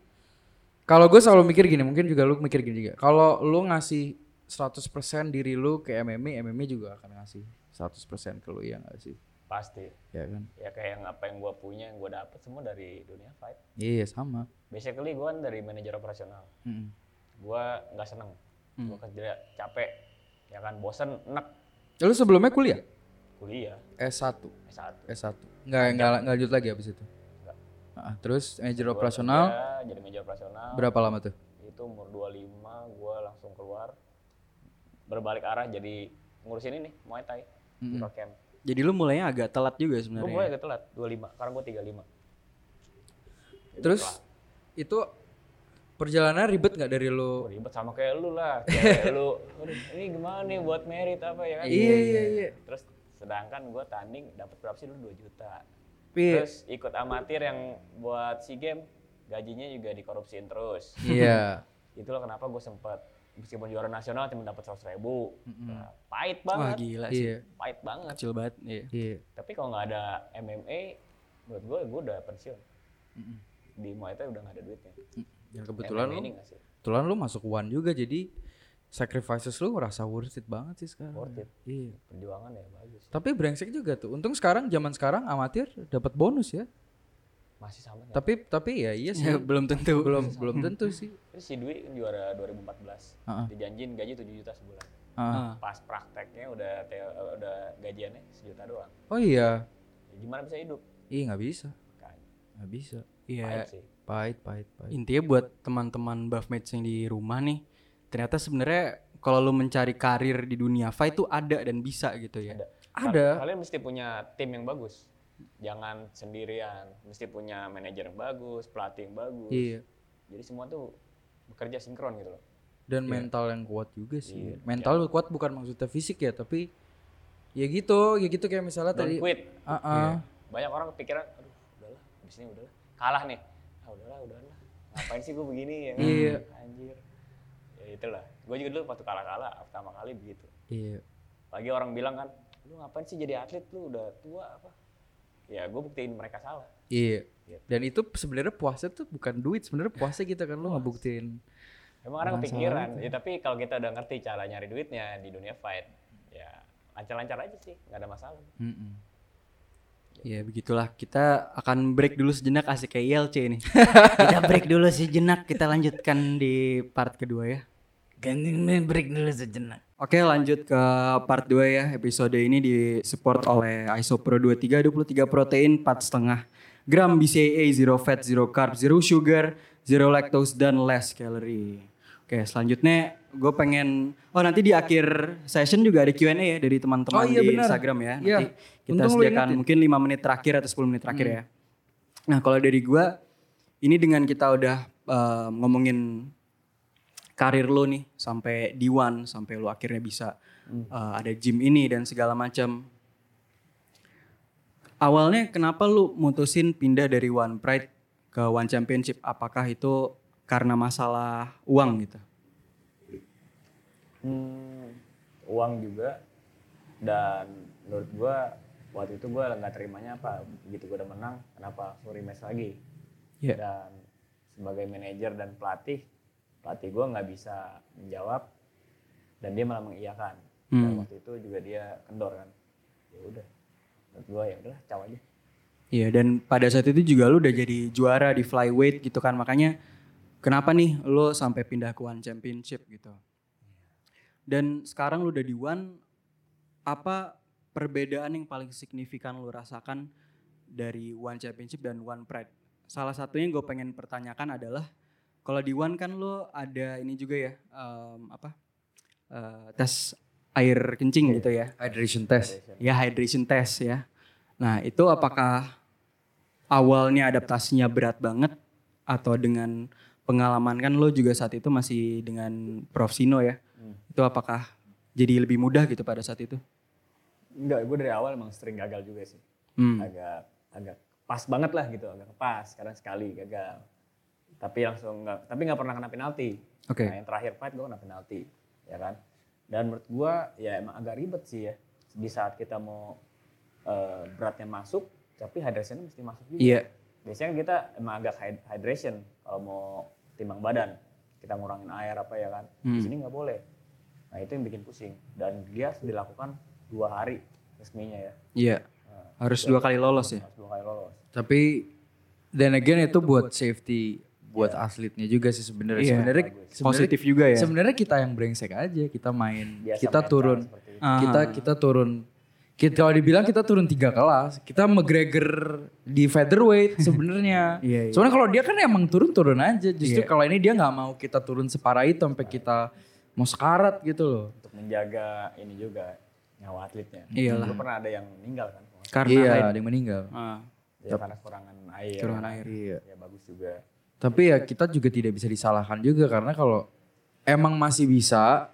B: kalau gue selalu mikir gini mungkin juga lu mikir gini juga kalau lu ngasih 100% diri lu ke MMA MMA juga akan ngasih 100% ke lu ya nggak sih
D: Pasti.
B: ya kan
D: Ya kayak yang apa yang gue punya, yang gue dapet semua dari dunia fight.
B: iya sama
D: Basically gue kan dari manajer operasional.
B: Mm-mm.
D: Gue nggak seneng. Gue kerja capek. Ya kan bosen, enek.
B: lu sebelumnya kuliah
D: Kuliah,
B: S1
D: S1.
B: S1 nggak nggak nggak lanjut lagi abis itu
D: Nggak.
B: Ah, terus manajer
D: Gua
B: operasional
D: kerja, jadi manajer operasional.
B: berapa lama tuh
D: Itu umur 25 gue langsung keluar. Berbalik arah jadi ngurusin ini, Muay Thai. di Pro Camp.
C: Jadi lu mulainya agak telat juga
D: Gue
C: sebenarnya.
D: mulai
B: ya.
D: gitu agak telat, 25. Sekarang gue 35.
B: terus itu perjalanan ribet nggak dari lu
D: Wah, ribet sama kayak lu lah kayak
B: (laughs)
D: lu aduh, ini gimana nih buat merit apa ya kan
B: iya iya iya
D: terus sedangkan gue tanding dapat berapa sih dulu 2 juta
B: Iya.
D: (laughs) terus ikut amatir yang buat si game gajinya juga dikorupsiin terus
B: iya
D: itulah kenapa gue sempet meskipun juara nasional cuma dapat seratus ribu Nah, pahit
C: Wah
D: banget
C: gila sih.
B: iya
D: pahit banget
C: Kecil banget. Iya.
B: iya
D: tapi kalau nggak ada MMA menurut gue gue udah pensiun di Muay Thai udah nggak ada duitnya
B: dan Ya, kebetulan
D: MMA
B: lu
D: ini nggak sih
B: kebetulan lu masuk one juga jadi sacrifices lu ngerasa worth it banget sih sekarang
D: Worth it.
B: iya
D: perjuangan ya bagus
B: tapi brengsek juga tuh untung sekarang zaman sekarang amatir dapat bonus ya
D: masih sama nggak?
B: tapi tapi ya iya
D: (laughs)
B: sih
C: Ya, belum tentu.
B: belum belum tentu sih
D: Terus si Dwi kan juara 2014.
B: Heeh.
D: Dijanjin gaji 7 juta sebulan.
B: Ah.
C: Ah,
D: Pas prakteknya udah te- udah gajiannya sejuta doang.
B: oh iya
D: Ya gimana bisa hidup?
B: iya nggak bisa
D: Makanya
B: nggak bisa
D: pahit
C: Iya.
D: sih.
B: pahit pahit pahit
C: Intinya buat teman-teman buff match yang di rumah nih, ternyata sebenarnya kalau lu mencari karir di dunia fight tuh ada dan bisa gitu ya.
D: Ada.
B: Ada.
D: Kal- Kalian mesti punya tim yang bagus. Jangan sendirian. Mesti punya manajer yang bagus, pelatih yang bagus.
B: iya
D: Jadi semua tuh bekerja sinkron gitu loh.
B: dan mental yang kuat juga sih mental lu kuat bukan maksudnya fisik ya tapi ya gitu ya gitu kayak misalnya
D: Don't
B: tadi
D: quit.
B: Ah, ah.
D: Banyak orang kepikiran, aduh udahlah, habis ini udahlah. Kalah nih. Ah udahlah, udahlah. Ngapain sih gue begini ya? kan?
B: Iya.
D: Anjir. Ya itulah. Gue juga dulu waktu kalah-kalah pertama kali begitu.
B: iya
D: Lagi orang bilang kan, lu ngapain sih jadi atlet lu udah tua apa? Ya gue buktiin mereka salah.
B: Iya.
D: Gitu.
B: Dan itu sebenarnya puasa tuh bukan duit, sebenarnya puasa gitu kan lo ngebuktiin.
D: Emang orang kepikiran, ya, tapi kalau kita udah ngerti cara nyari duitnya di dunia fight, ya lancar-lancar aja sih, nggak ada masalah.
C: Ya begitulah kita akan break dulu sejenak asik kayak ILC nih. (laughs) kita break dulu sejenak, kita lanjutkan di part kedua ya.
A: Ganti break dulu sejenak.
C: Oke lanjut ke part 2 ya Episode ini disupport oleh Isopro 23 23 protein 4,5 gram BCAA 0 fat 0 carb 0 sugar 0 lactose dan less calorie Oke selanjutnya gue pengen Oh nanti di akhir session juga ada Q&A ya Dari teman-teman
B: Oh, iya,
C: di
B: benar.
C: Instagram ya
B: Iya.
C: Nanti kita
B: Untung lu
C: sediakan
B: ingetin.
C: mungkin 5 menit terakhir atau 10 menit terakhir ya Nah kalau dari gue Ini dengan kita udah eh, ngomongin karir lo nih sampai di one sampai lo akhirnya bisa uh, ada gym ini dan segala macam awalnya kenapa lo mutusin pindah dari one pride ke one championship apakah itu karena masalah uang gitu
D: Hmm, uang juga dan menurut gua waktu itu gua nggak terimanya apa begitu gua udah menang kenapa harus rematch lagi
C: Iya.
D: dan sebagai manajer dan pelatih pelatih gua nggak bisa menjawab dan dia malah mengiyakan dan waktu itu juga dia kendor kan ya udah menurut gua ya udahlah caw aja
C: Iya dan pada saat itu juga lu udah jadi juara di flyweight gitu kan makanya kenapa nih lu sampai pindah ke One Championship gitu. Dan sekarang lu udah di One apa perbedaan yang paling signifikan lu rasakan dari One Championship dan One Pride. Salah satunya yang gue pengen pertanyakan adalah kalau di One kan lo ada ini juga ya em, apa eh, tes air kencing gitu ya.
B: Hydration test.
C: Ya hydration test ya. Nah itu apakah awalnya adaptasinya berat banget atau dengan pengalaman kan lo juga saat itu masih dengan Prof Sino ya.
B: Hmm.
C: Itu apakah jadi lebih mudah gitu pada saat itu?
D: Enggak, gue dari awal emang sering gagal juga sih.
C: Hmm.
D: Agak agak pas banget lah gitu, agak pas karena sekali gagal. Tapi langsung nggak, tapi nggak pernah kena penalti.
C: Oke.
D: Nah, yang terakhir fight gue kena penalti, ya kan. Dan menurut gue ya emang agak ribet sih ya. Di saat kita mau eh, beratnya masuk, tapi hydrationnya mesti masuk juga.
C: Iya.
D: Biasanya kan kita emang agak hyd- hydration kalau mau timbang badan. Kita ngurangin air apa ya kan.
C: Hmm.
D: Di sini nggak boleh. Nah itu yang bikin pusing. Dan dia dilakukan dua hari resminya ya.
C: Iya. Harus dua kali lolos ya.
D: Harus dua kali lolos.
B: Tapi dan again Nah, itu buat Iya. safety buat atletnya juga sih sebenarnya.
C: Iya.
B: Sebenarnya sebenarnya-
C: Positif juga ya.
B: Sebenarnya kita yang brengsek aja, kita main,
D: Biasa
B: kita
D: main
B: turun.
D: cara seperti
C: itu.
B: Kita kita turun. Kita kalau dibilang kita turun tiga kelas, kita McGregor di featherweight sebenarnya.
C: Iya, iya.
B: Soalnya kalau dia kan emang turun-turun aja. Justru kalau ini dia nggak mau kita turun separah itu sampai kita mau sekarat gitu loh.
D: Untuk menjaga ini juga nyawa atletnya.
C: Iyalah.
D: Dulu pernah ada yang meninggal kan. kalau nggak
C: Karena
B: iya,
C: hyd-
B: ada yang meninggal.
C: Ah,
D: salah. Ya, karena kekurangan air.
C: Kekurangan air.
B: Iya.
D: Ya bagus juga.
B: Tapi ya kita juga tidak bisa disalahkan juga karena kalau emang masih bisa,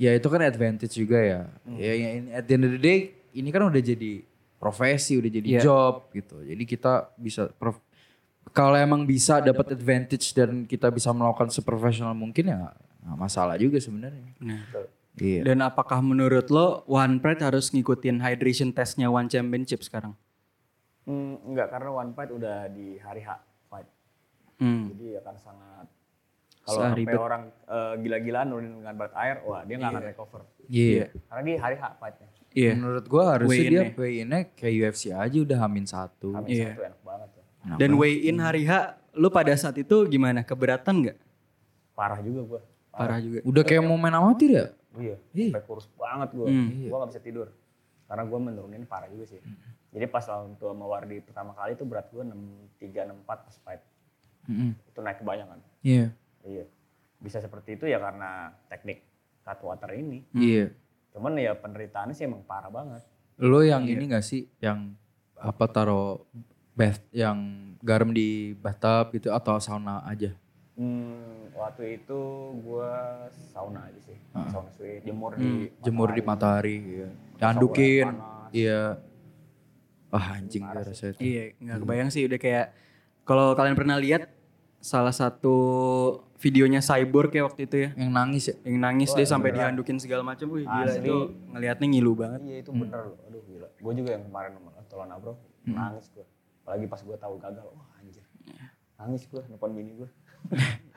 B: ya itu kan advantage juga ya. Ya, ya ini- at the end of the day ini kan udah jadi profesi, udah jadi
C: Iya.
B: job gitu. Jadi kita bisa prof- kalau emang bisa Nah, dapat advantage dan kita bisa melakukan seprofesional mungkin ya nggak masalah juga sebenarnya.
C: Nah.
B: Iya.
C: Dan apakah menurut lo One Pride harus ngikutin hydration testnya One Championship sekarang?
D: Hmm, enggak karena one fight udah di hari H fight.
C: Hmm.
D: Jadi akan sangat kalau
C: Sangat
D: sampai
C: ribet.
D: orang eh, gila-gilaan nurunin dengan berat air, wah dia nggak akan recover.
B: Iya.
D: Karena di hari H ya. fightnya.
C: Iya.
B: Menurut gua harusnya
C: Weigh
B: dia
C: in-nya.
B: weigh-in-nya kayak UFC aja udah hamin satu.
D: Hamil
C: Iya.
D: satu enak banget ya.
C: Dan weigh in hari H, lo pada saat itu gimana? Keberatan nggak?
D: Parah juga gua.
C: Parah juga.
B: Udah kayak mau main amatir ya?
D: Iya, sampai kurus banget gue.
C: Hmm.
D: Gue gak bisa tidur. Karena gue menurunin parah juga sih. Jadi pas lawan tua sama Wardi pertama kali itu berat gue 63, 64 pas fight.
B: Mm-mm.
D: Itu naik kebanyakan.
B: Iya.
D: Iya. Bisa seperti itu ya karena teknik cut water ini.
B: Iya.
D: Cuman ya penderitaannya sih emang parah banget.
B: Lo yang ini gak sih yang apa taro bath yang garam di bathtub gitu atau sauna aja?
D: Hmm, waktu itu gue sauna aja sih. Sauna Hmm, sweet, Ah. jemur di
B: Jemur di matahari, iya. Diandukin, iya. Wah anjing gue rasanya itu.
C: Iya, nggak kebayang sih udah kayak kalau kalian pernah lihat salah satu videonya Cyborg ya waktu itu ya,
B: Yang nangis ya?
C: yang nangis dia sampai dihandukin segala macam. Wih, gila itu ngelihatnya ngilu banget.
D: Iya itu bener loh. Aduh gila. Gue juga yang kemarin sama Tolan Abro nangis gue. Apalagi pas gue tahu gagal, wah anjir. Nangis gue, nelfon bini gue.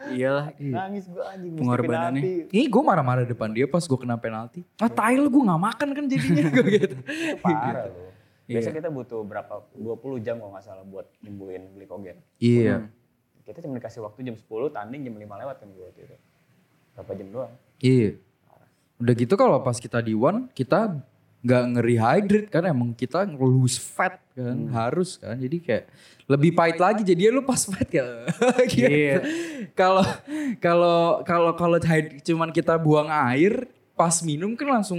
C: Iyalah.
D: nangis gue anjing, mesti
C: Pengorbanannya.
D: (laughs) penalti.
B: Ih gue marah-marah depan dia pas gue kena penalti. Ah tai lu gue gak makan kan (laughs) jadinya gue gitu.
D: Itu parah loh. Biasanya kita butuh berapa, 20 jam kalau nggak salah buat nyembuhin glikogen.
B: Iya.
D: Kita cuma dikasih waktu jam 10, tanding jam 5 lewat kan gue waktu itu. Berapa jam
B: (laughs)
D: doang.
B: Iya. Udah gitu kalau pas kita di one, kita nggak nge-rehydrate kan emang kita lose fat kan
C: Hmm.
B: harus kan jadi kayak lebih pahit lagi jadi lu pas fat ya (laughs) gitu.
C: Iya.
B: kalau kalau kalau kalau hyd- cuman kita buang air pas minum kan langsung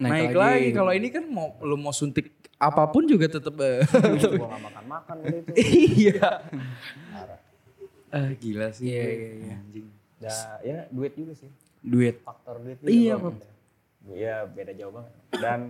B: naik,
C: Naik
B: lagi,
C: lagi.
B: kalau ini kan mau lu mau suntik apapun juga tetep eh,
D: gue nggak makan-makan gitu itu.
B: iya ah gila sih
C: Iya, iya, iya.
D: Dan ya duit juga sih.
C: Duit.
D: Faktor duit
B: Iya,
D: juga. Iya, beda jauh banget. Dan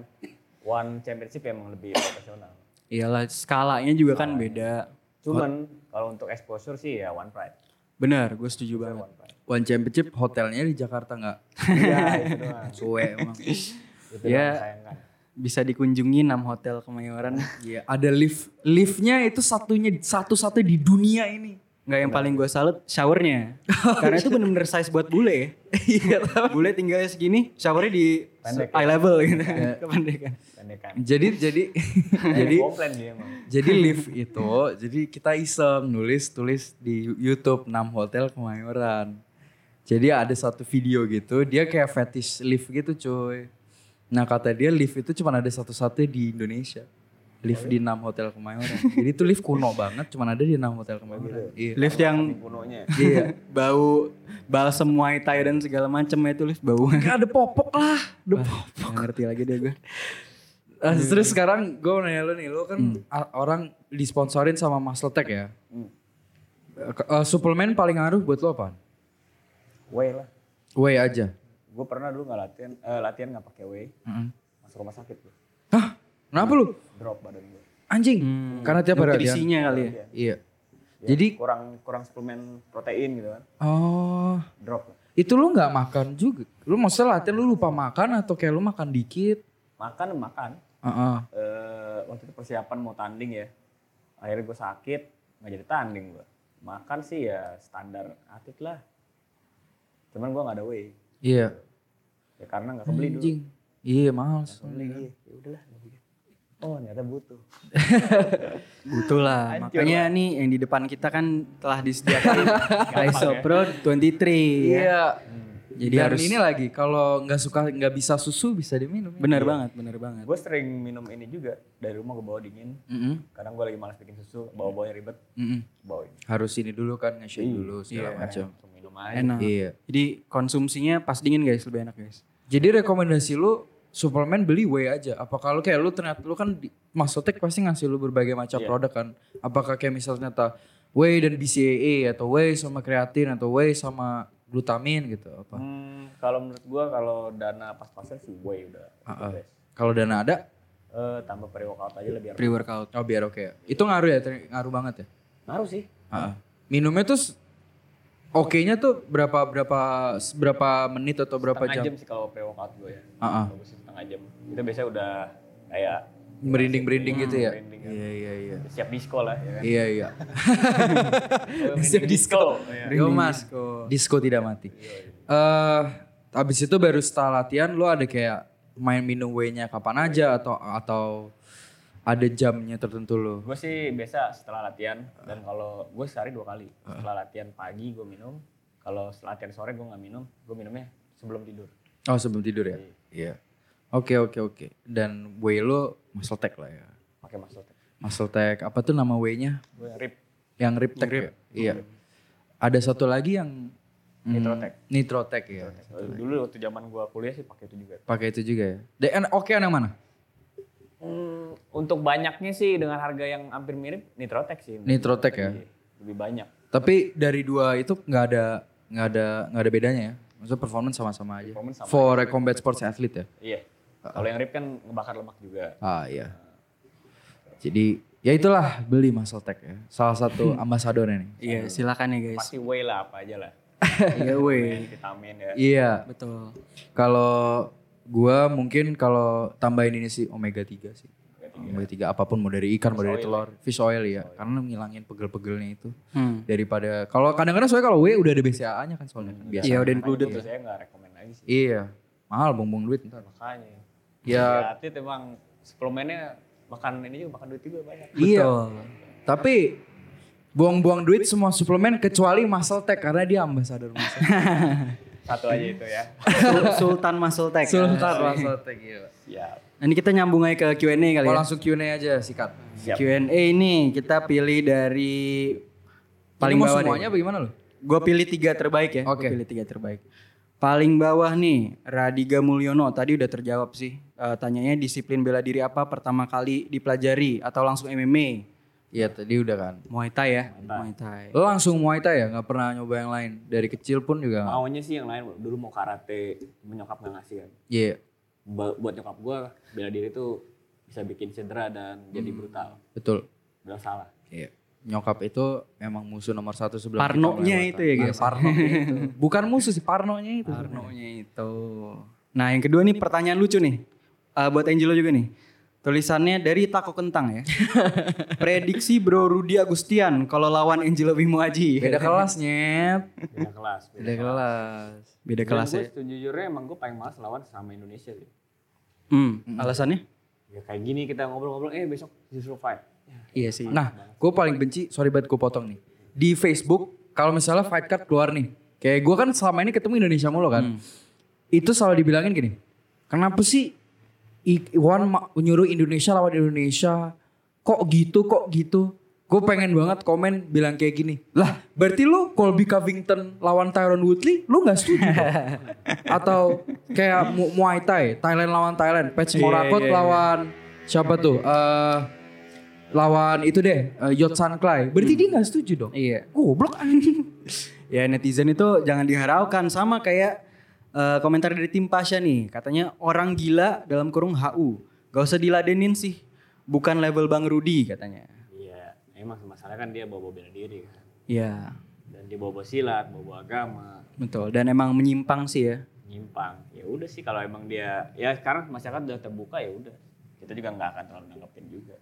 D: one championship emang lebih profesional.
C: Iyalah skalanya juga kan beda.
D: Cuman kalau untuk exposure sih ya one pride.
C: Benar, gue setuju banget.
D: One pride.
B: (laughs) one championship hotelnya di Jakarta nggak
D: Iya, itu doang.
B: suwe emang
D: Itu
C: Iya.
D: doang sayangkan.
C: Bisa dikunjungi 6 hotel Kemayoran.
B: (laughs) Iya, ada lift. Liftnya itu satunya satu-satu di dunia ini. Oh,
C: Nggak
B: iya.
C: yang paling gue salut
B: (laughs)
C: showernya. Karena itu bener-bener size buat bule ya. Iya. (laughs) bule tinggalnya segini, showernya di eye level gitu.
B: Iya.
C: (laughs) Kependekan.
D: Pendekan.
B: Jadi
C: (laughs)
B: jadi
D: Jadi
B: jadi
D: komplain dia emang.
B: jadi lift itu jadi kita iseng nulis tulis di YouTube 6 hotel Kemayoran. Jadi ada satu video gitu, dia kayak fetish lift gitu, coy. Nah, kata dia lift itu cuma ada satu-satunya di Indonesia. lift di 6 hotel Kemayoran. Jadi itu lift kuno banget, cuman ada di 6 hotel Kemayoran. Iya.
C: Lift yang
D: kunonya
C: (laughs) iya, bau balsem Muay Thai dan segala macem itu lift bau.
B: Gak ada popok lah. Ada popok.
C: Nggak ngerti lagi deh Iya, gue.
B: Ah, terus sekarang gue nanya lu nih, lu kan
C: Hmm.
B: a- orang disponsorin sama Mas Letek ya. Eh, ke- eh, suplemen paling ngaruh buat lo apa?
D: way lah
B: Whey aja.
D: gue pernah dulu nggak latihan eh, latihan nggak pakai way masuk rumah sakit gue
B: Hah? Kenapa lu?
D: drop badan gue
B: Anjing.
C: Hmm.
B: Karena tiap hari latihan.
C: Nutrisinya kali ya.
B: Iya. Jadi
D: Ya, kurang kurang suplemen protein gitu kan
B: oh
D: drop lah.
B: itu lu nggak makan juga. Lu maksudnya latihan lu lupa makan atau kayak lu makan dikit?
D: makan makan
B: Heeh.
D: Eh, waktu itu persiapan mau tanding ya akhirnya gue sakit nggak jadi tanding gue makan sih ya standar atlet lah cuman gue nggak ada way
B: Iya.
D: ya karena nggak kebeli dulu
B: Anjing. Iya mahal.
D: beli iya ya udahlah gua pikir. oh ternyata butuh
C: Butuh lah. Makanya nih yang di depan kita kan telah
B: (laughs)
C: disediakan Isopro 23.
B: ya. Iya.
C: Jadi
B: Dan
C: harus
B: ini lagi kalau nggak suka nggak bisa susu bisa diminum. ya.
C: benar banget, benar banget.
D: gue sering minum ini juga dari rumah gue bawa dingin
B: Mm-mm.
D: kadang gue lagi malas bikin susu bawa bawanya ribet
B: Mm-mm.
D: bawa ini
B: Harus ini dulu kan nge-shake dulu segala macam.
D: Langsung minum aja
C: Enak.
B: Iya.
C: Jadi konsumsinya pas dingin guys, lebih enak guys.
B: Jadi rekomendasi lu suplemen beli whey aja. Apa kalau kayak lu ternyata lu kan di, Mas Sotek pasti ngasih lu berbagai macam produk kan. Apakah kayak misalnya ternyata whey dan BCAA E, atau whey sama kreatin atau whey sama glutamin gitu apa?
D: Hmm, kalau menurut gue kalau dana pas-pasan sih way udah
B: Ah, ah. Kalau dana ada
D: Eh, tambah pre workout aja lebih
C: Pre workout.
B: Oh biar oke. Itu ngaruh ya, ter- ngaruh banget ya.
D: ngaruh sih
B: Ah. Minumnya tuh s- oke-nya tuh berapa berapa berapa menit atau berapa
D: setengah
B: jam?
D: jam Iya sih kalau pre workout gue ya
B: Ah, ah.
D: bagus sih setengah jam itu biasanya udah kayak
B: Merinding-merinding gitu ya.
D: merinding kan.
B: Iya iya iya.
D: siap disko lah ya kan
B: Iya iya.
D: (laughs) siap disko iya.
B: Yo mas, disco tidak mati. Eh, abis itu baru setelah latihan, lo ada kayak main minum whey-nya kapan aja atau atau ada jamnya tertentu lo?
D: gue sih biasa setelah latihan dan kalau gue sehari dua kali setelah latihan pagi gue minum kalau setelah latihan sore gue nggak minum gue minumnya sebelum tidur
B: Oh sebelum tidur ya? Iya. Oke oke oke. Dan whey lo muscle tech lah ya.
D: pakai masuk
B: Muscle tech apa tuh nama whey-nya?
D: gue rip
B: Yang rip tech ya? Iya. Ada satu lagi yang nitrotech. Nitrotech ya.
D: dulu waktu zaman gue kuliah sih pakai itu juga
B: Pakai itu juga ya. Dan oke yang mana?
D: Hmm, untuk banyaknya sih dengan harga yang hampir mirip nitrotek sih
B: Nitrotech ya.
D: Iya, lebih banyak
B: Tapi dari dua itu nggak ada nggak ada nggak ada bedanya ya. Maksudnya performance sama-sama aja. For a combat sports athlete ya.
D: iya kalau yang rip kan ngebakar lemak juga
B: Ah iya. Jadi ya itulah beli muscle tech ya. Salah (laughs) satu ambasadornya nih.
C: Iya, silakan ya guys.
D: pasti whey lah apa aja lah
C: Iya weh.
D: vitamin ya
B: Iya.
C: Betul.
B: Kalau gua mungkin kalau tambahin ini sih omega 3 sih. Omega 3 apapun mau dari ikan, mau dari telur, fish oil ya. Karena ngilangin pegel-pegelnya itu.
C: Hmm.
B: Daripada kalau kadang-kadang soalnya kalau W udah ada BCAA-nya kan soalnya kan, biasa.
C: Iya udah included
D: Jadi
C: lah.
D: saya nggak rekomend lagi sih
B: Iya. Mahal buang-buang duit ntar.
D: makanya
B: Ya.
D: ya atlet emang suplemennya makan ini juga makan duit juga banyak
B: Iya.
C: Betul.
B: Tapi buang-buang duit semua suplemen kecuali Muscle Tech karena dia ambasador Muscle.
D: satu aja itu ya
C: Sul- Sultan Muscle Tech.
B: Sultan Muscle Tech gila.
D: siap
C: Nah, ini kita nyambung aja ke Q&A kali
B: Oh,
C: ya.
B: langsung Q&A aja sikat.
D: siap
C: Q&A ini kita pilih dari paling
B: Ini mau
C: bawah
B: semuanya
C: deh.
B: bagaimana lo?
C: Gue pilih tiga terbaik ya. Gua
B: Oke.
C: pilih tiga terbaik. Paling bawah nih Radiga Mulyono tadi udah terjawab sih. Eh, tanyanya disiplin bela diri apa pertama kali dipelajari atau langsung MMA?
B: Iya tadi udah kan.
C: Muay Thai ya. Muay Thai.
B: Lo langsung Muay Thai ya? Gak pernah nyoba yang lain? Dari kecil pun juga nggak?
D: maunya sih yang lain dulu mau karate menyokap nggak ngasih kan
B: Iya.
D: Ba- buat nyokap gue bela diri tuh bisa bikin cedera dan jadi brutal
B: Betul.
D: bilang salah
B: Iya. Nyokap itu emang musuh nomor satu sebelum kita
C: Parnonya
B: mulai
C: itu
B: Muay
C: ya
B: Thai.
C: guys.
B: Parno itu. Bukan musuh sih, parnonya itu.
C: Arnonya itu. Nah yang kedua nih pertanyaan lucu nih. Eh, buat Angelo juga nih. Tulisannya dari Tako (laughs) Kentang ya. Prediksi Bro Rudi Agustian kalau lawan Angelo Bimo Aji.
B: Beda kelasnya.
D: beda kelas beda.
B: Beda kelas.
C: Beda kelas ya.
D: Dan gue sejujurnya emang gue paling males lawan sama Indonesia sih
C: Hmm, alasannya?
D: ya kayak gini kita ngobrol-ngobrol eh besok justru fight
C: Iya sih.
B: Nah, gue paling benci, sorry banget gue potong nih. Di Facebook, kalau misalnya fight card keluar nih, kayak gue kan selama ini ketemu Indonesia mulu
C: Hmm.
B: kan. Itu selalu dibilangin gini, kenapa sih I- Iwan ma- nyuruh Indonesia lawan Indonesia, kok gitu kok gitu gue pengen banget komen bilang kayak gini lah berarti lu Colby Covington lawan Tyron Woodley lu nggak setuju
C: (laughs)
B: dong?" atau kayak Mu- Muay Thai Thailand lawan Thailand Patch
C: Iya,
B: Morakot lawan siapa tuh Eh, lawan itu deh eh, Yotsan Clay berarti dia nggak setuju dong
C: Iya.
B: goblok anjing
C: (laughs) Ya netizen itu jangan diharaukan sama kayak eh, komentar dari tim Pasha nih katanya orang gila dalam kurung HU gak usah diladenin sih bukan level Bang Rudi katanya.
D: Iya, emang masalah kan dia bawa-bawa bela diri kan.
C: Iya
D: Dan dia bawa-bawa silat, bawa-bawa agama,
C: betul dan emang menyimpang sih ya.
D: nyimpang. Ya udah sih kalau emang dia ya sekarang masyarakat udah terbuka ya udah. Kita juga nggak akan terlalu nanggepin juga.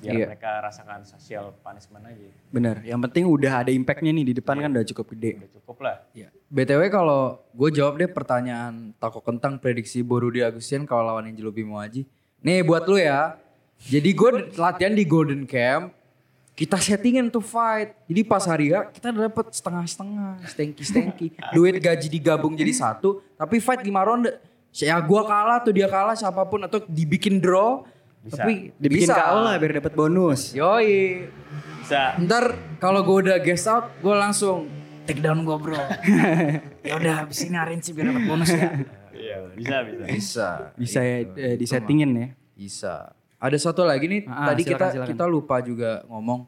D: Biar
C: Iya.
D: mereka rasakan social punishment aja.
C: Bener. Yang penting udah ada impactnya nih di depan kan udah cukup gede.
D: Udah cukup lah.
B: Iya. BTW kalau gue jawab deh pertanyaan Tako Kentang prediksi Borudi Agustian kalau lawan Angelo Bimoaji. Nih buat lu ya. Jadi gue latihan di Golden Camp. Kita settingan tuh fight. Jadi pas hari H kita dapat setengah-setengah. Stenki-stenki. Duit gaji digabung jadi satu. Tapi fight lima ronde. Ya gue kalah tuh dia kalah siapapun. Atau dibikin draw. Tapi
C: Dibikin
B: bisa.
C: KO lah biar dapat bonus.
B: Yoi.
D: Bisa
B: Ntar kalau gue udah gas out gue langsung.
E: Take down gue
B: (laughs)
E: bro. ya udah habis ini Arin sih biar dapat bonus ya.
D: Iya, bisa bisa.
B: Bisa.
C: Bisa ya
B: Gitu.
C: eh, disettingin ya.
B: Bisa. Ada satu lagi nih,
C: Ah, ah,
B: tadi
C: silakan,
B: kita
C: silakan.
B: kita lupa juga ngomong.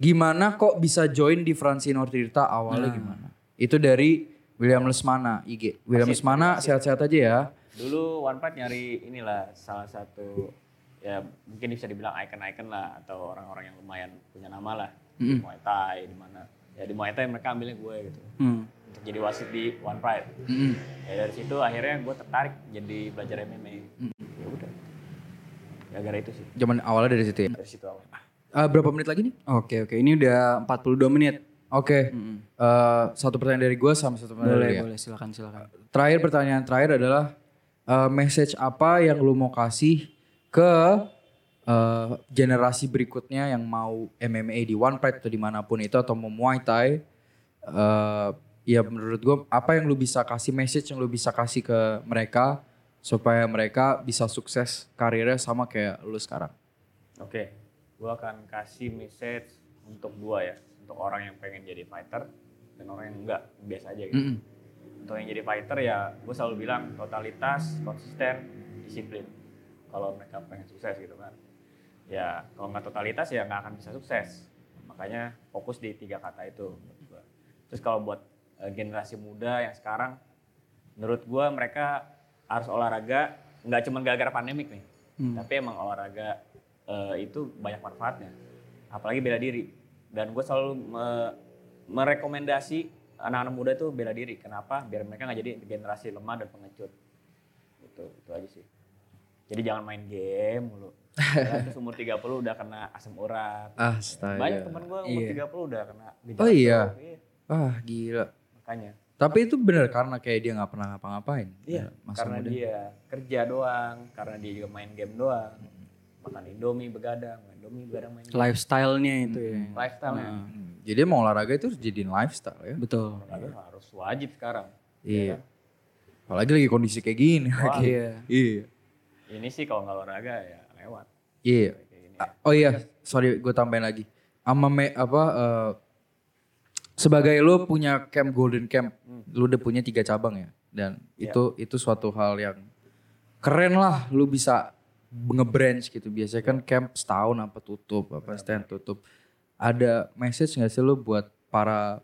B: Gimana kok bisa join di Francino
C: Nah.
B: Tirta awalnya gimana? Itu dari William Lesmana IG. William Lesmana sehat-sehat aja ya.
D: Dulu One Pride nyari inilah salah satu ya mungkin bisa dibilang icon-icon lah atau orang-orang yang lumayan punya nama lah di Muay Thai di mana ya di Muay Thai mereka ambilnya gue gitu
C: Hmm.
D: untuk jadi wasit di One Pride ya dari situ akhirnya gue tertarik jadi belajar MMA ya udah ya gara itu sih
B: Zaman awalnya dari situ ya.
D: dari situ awal
B: Eh, berapa menit lagi nih?
C: Oke oke ini udah 42 menit.
B: Oke. Eh, satu pertanyaan dari gue sama satu pertanyaan dari
C: Boleh
B: ya.
C: boleh silakan silakan.
B: Terakhir pertanyaan terakhir adalah eh, message apa yang lu mau kasih ke eh, generasi berikutnya yang mau MMA di One Pride atau dimanapun itu atau mau Muay Thai? Eh, ya menurut gue apa yang lu bisa kasih message yang lu bisa kasih ke mereka supaya mereka bisa sukses karirnya sama kayak lu sekarang?
D: oke gue akan kasih message untuk dua ya untuk orang yang pengen jadi fighter dan orang yang enggak biasa aja gitu
B: Mm-mm.
D: untuk yang jadi fighter ya gue selalu bilang totalitas konsisten disiplin kalau mereka pengen sukses gitu kan ya kalau nggak totalitas ya nggak akan bisa sukses makanya fokus di tiga kata itu menurut gua. terus kalau buat eh, generasi muda yang sekarang menurut gue mereka harus olahraga nggak cuma gara-gara pandemik nih
B: Hmm.
D: tapi emang olahraga eh, itu banyak manfaatnya apalagi bela diri dan gue selalu me- merekomendasi anak-anak muda tuh bela diri kenapa biar mereka nggak jadi generasi lemah dan pengecut gitu itu aja sih jadi jangan main game
B: (laughs)
D: mulu Ya, terus umur 30 udah kena asam urat
B: Astaga.
D: banyak temen gue umur
B: Ah, Iya.
D: 30 udah kena gejala
B: Oh iya.
D: stroke, iya.
B: Ah gila.
D: makanya
B: Tapi itu bener karena kayak dia nggak pernah ngapa-ngapain.
D: Iya,
B: Masa
D: karena
B: muda.
D: dia kerja doang, karena dia juga main game doang. Makan Indomie begadang, main Indomie begadang main game.
C: Lifestyle-nya itu ya.
D: Lifestyle-nya.
B: Hmm, Jadi mau olahraga itu harus jadiin lifestyle ya.
C: Betul.
D: Olahraga Iya, harus wajib sekarang.
B: Iya. Apalagi lagi kondisi kayak gini. lagi.
C: Iya.
B: (laughs) Iya.
D: Ini sih kalau nggak olahraga ya lewat.
B: Iya. Ah, Oh iya, sorry gue tambahin lagi. Ama me, apa eh, sebagai lu punya camp Golden Camp, lu udah punya tiga cabang ya. Dan itu itu suatu hal yang keren lah lu bisa ngebranch gitu. Biasanya kan camp setahun apa tutup, apa stand tutup. Ada message gak sih lu buat para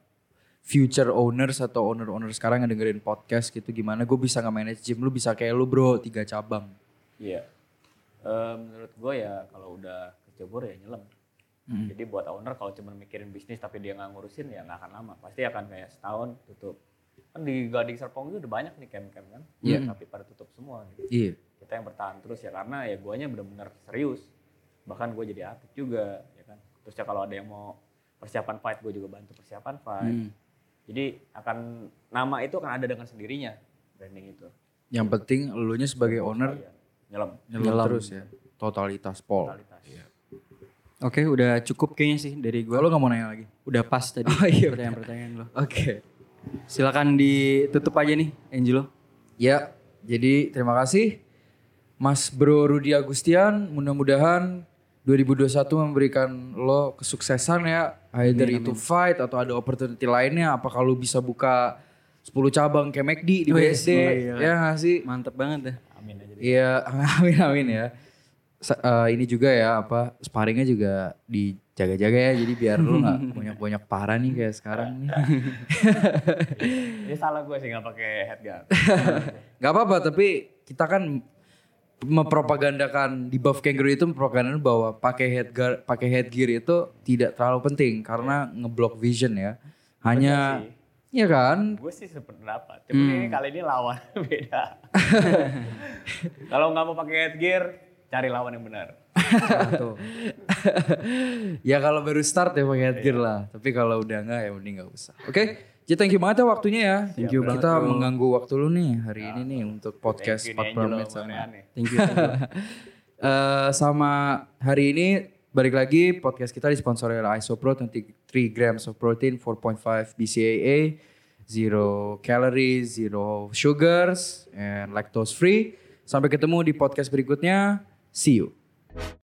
B: future owners atau owner-owner sekarang yang dengerin podcast gitu gimana gue bisa nge-manage gym lu bisa kayak lu bro tiga cabang
D: Iya. Eh, menurut gue ya kalau udah kecebur ya nyelam.
B: Hmm.
D: Jadi buat owner kalau cuma mikirin bisnis tapi dia nggak ngurusin ya nggak akan lama. Pasti akan kayak setahun tutup. Kan di Gading Serpong itu udah banyak nih camp-camp kan. Tapi pada tutup semua gitu.
B: iya
D: kita yang bertahan terus ya karena ya guanya benar-benar serius bahkan gue jadi atlet juga ya kan terus ya kalau ada yang mau persiapan fight gue juga bantu persiapan fight jadi akan nama itu akan ada dengan sendirinya branding itu
B: yang penting elunya sebagai owner
D: ya, nyelam
B: nyelam, terus ya totalitas pol
D: kualitas
C: Oke, udah cukup kayaknya sih dari gua.
B: lo nggak mau nanya lagi
C: Udah pas tadi
B: (laughs) Oh, iya,
C: pertanyaan-pertanyaan lo.
B: oke
C: Silakan ditutup aja nih Angelo.
B: ya jadi terima kasih Mas Bro Rudi Agustian mudah-mudahan 2021 memberikan lo kesuksesan ya, either itu fight atau ada opportunity lainnya, apa kalau bisa buka 10 cabang kayak McD di
C: Wih,
B: BSD,
C: gila.
B: ya nggak sih?
C: Mantep banget dah.
B: Iya, (laughs) amin amin ya. Sa- eh, ini juga ya apa sparringnya juga dijaga-jaga ya, jadi biar lu (laughs) nggak banyak-banyak parah nih kayak sekarang nih.
F: Ini salah gue sih nggak pakai headguard.
B: Gak apa-apa, tapi kita kan mempropagandakan di buff kangaroo itu mempropagandakan bahwa pakai headgear pakai headgear itu tidak terlalu penting karena ngeblok vision ya. Hanya Iya kan?
F: gue sih sependapat. Cuma ini kali ini
D: (laughs)
F: lawan beda. Kalau nggak mau pakai headgear, cari lawan yang benar.
B: (laughs) ya kalau baru start ya pakai headgear lah. Tapi kalau udah enggak ya mending enggak usah. Oke. Ji, thank you banget ya waktunya ya. Thank you banget. Ya, Kita mengganggu waktu lu nih hari ini nih untuk podcast 40 menit sama.
C: Thank you.
B: (laughs)
C: thank you.
B: Eh, sama hari ini balik lagi podcast kita disponsori oleh Isopro 23 grams of protein 4.5 BCAA zero calories zero sugars and lactose free sampai ketemu di podcast berikutnya see you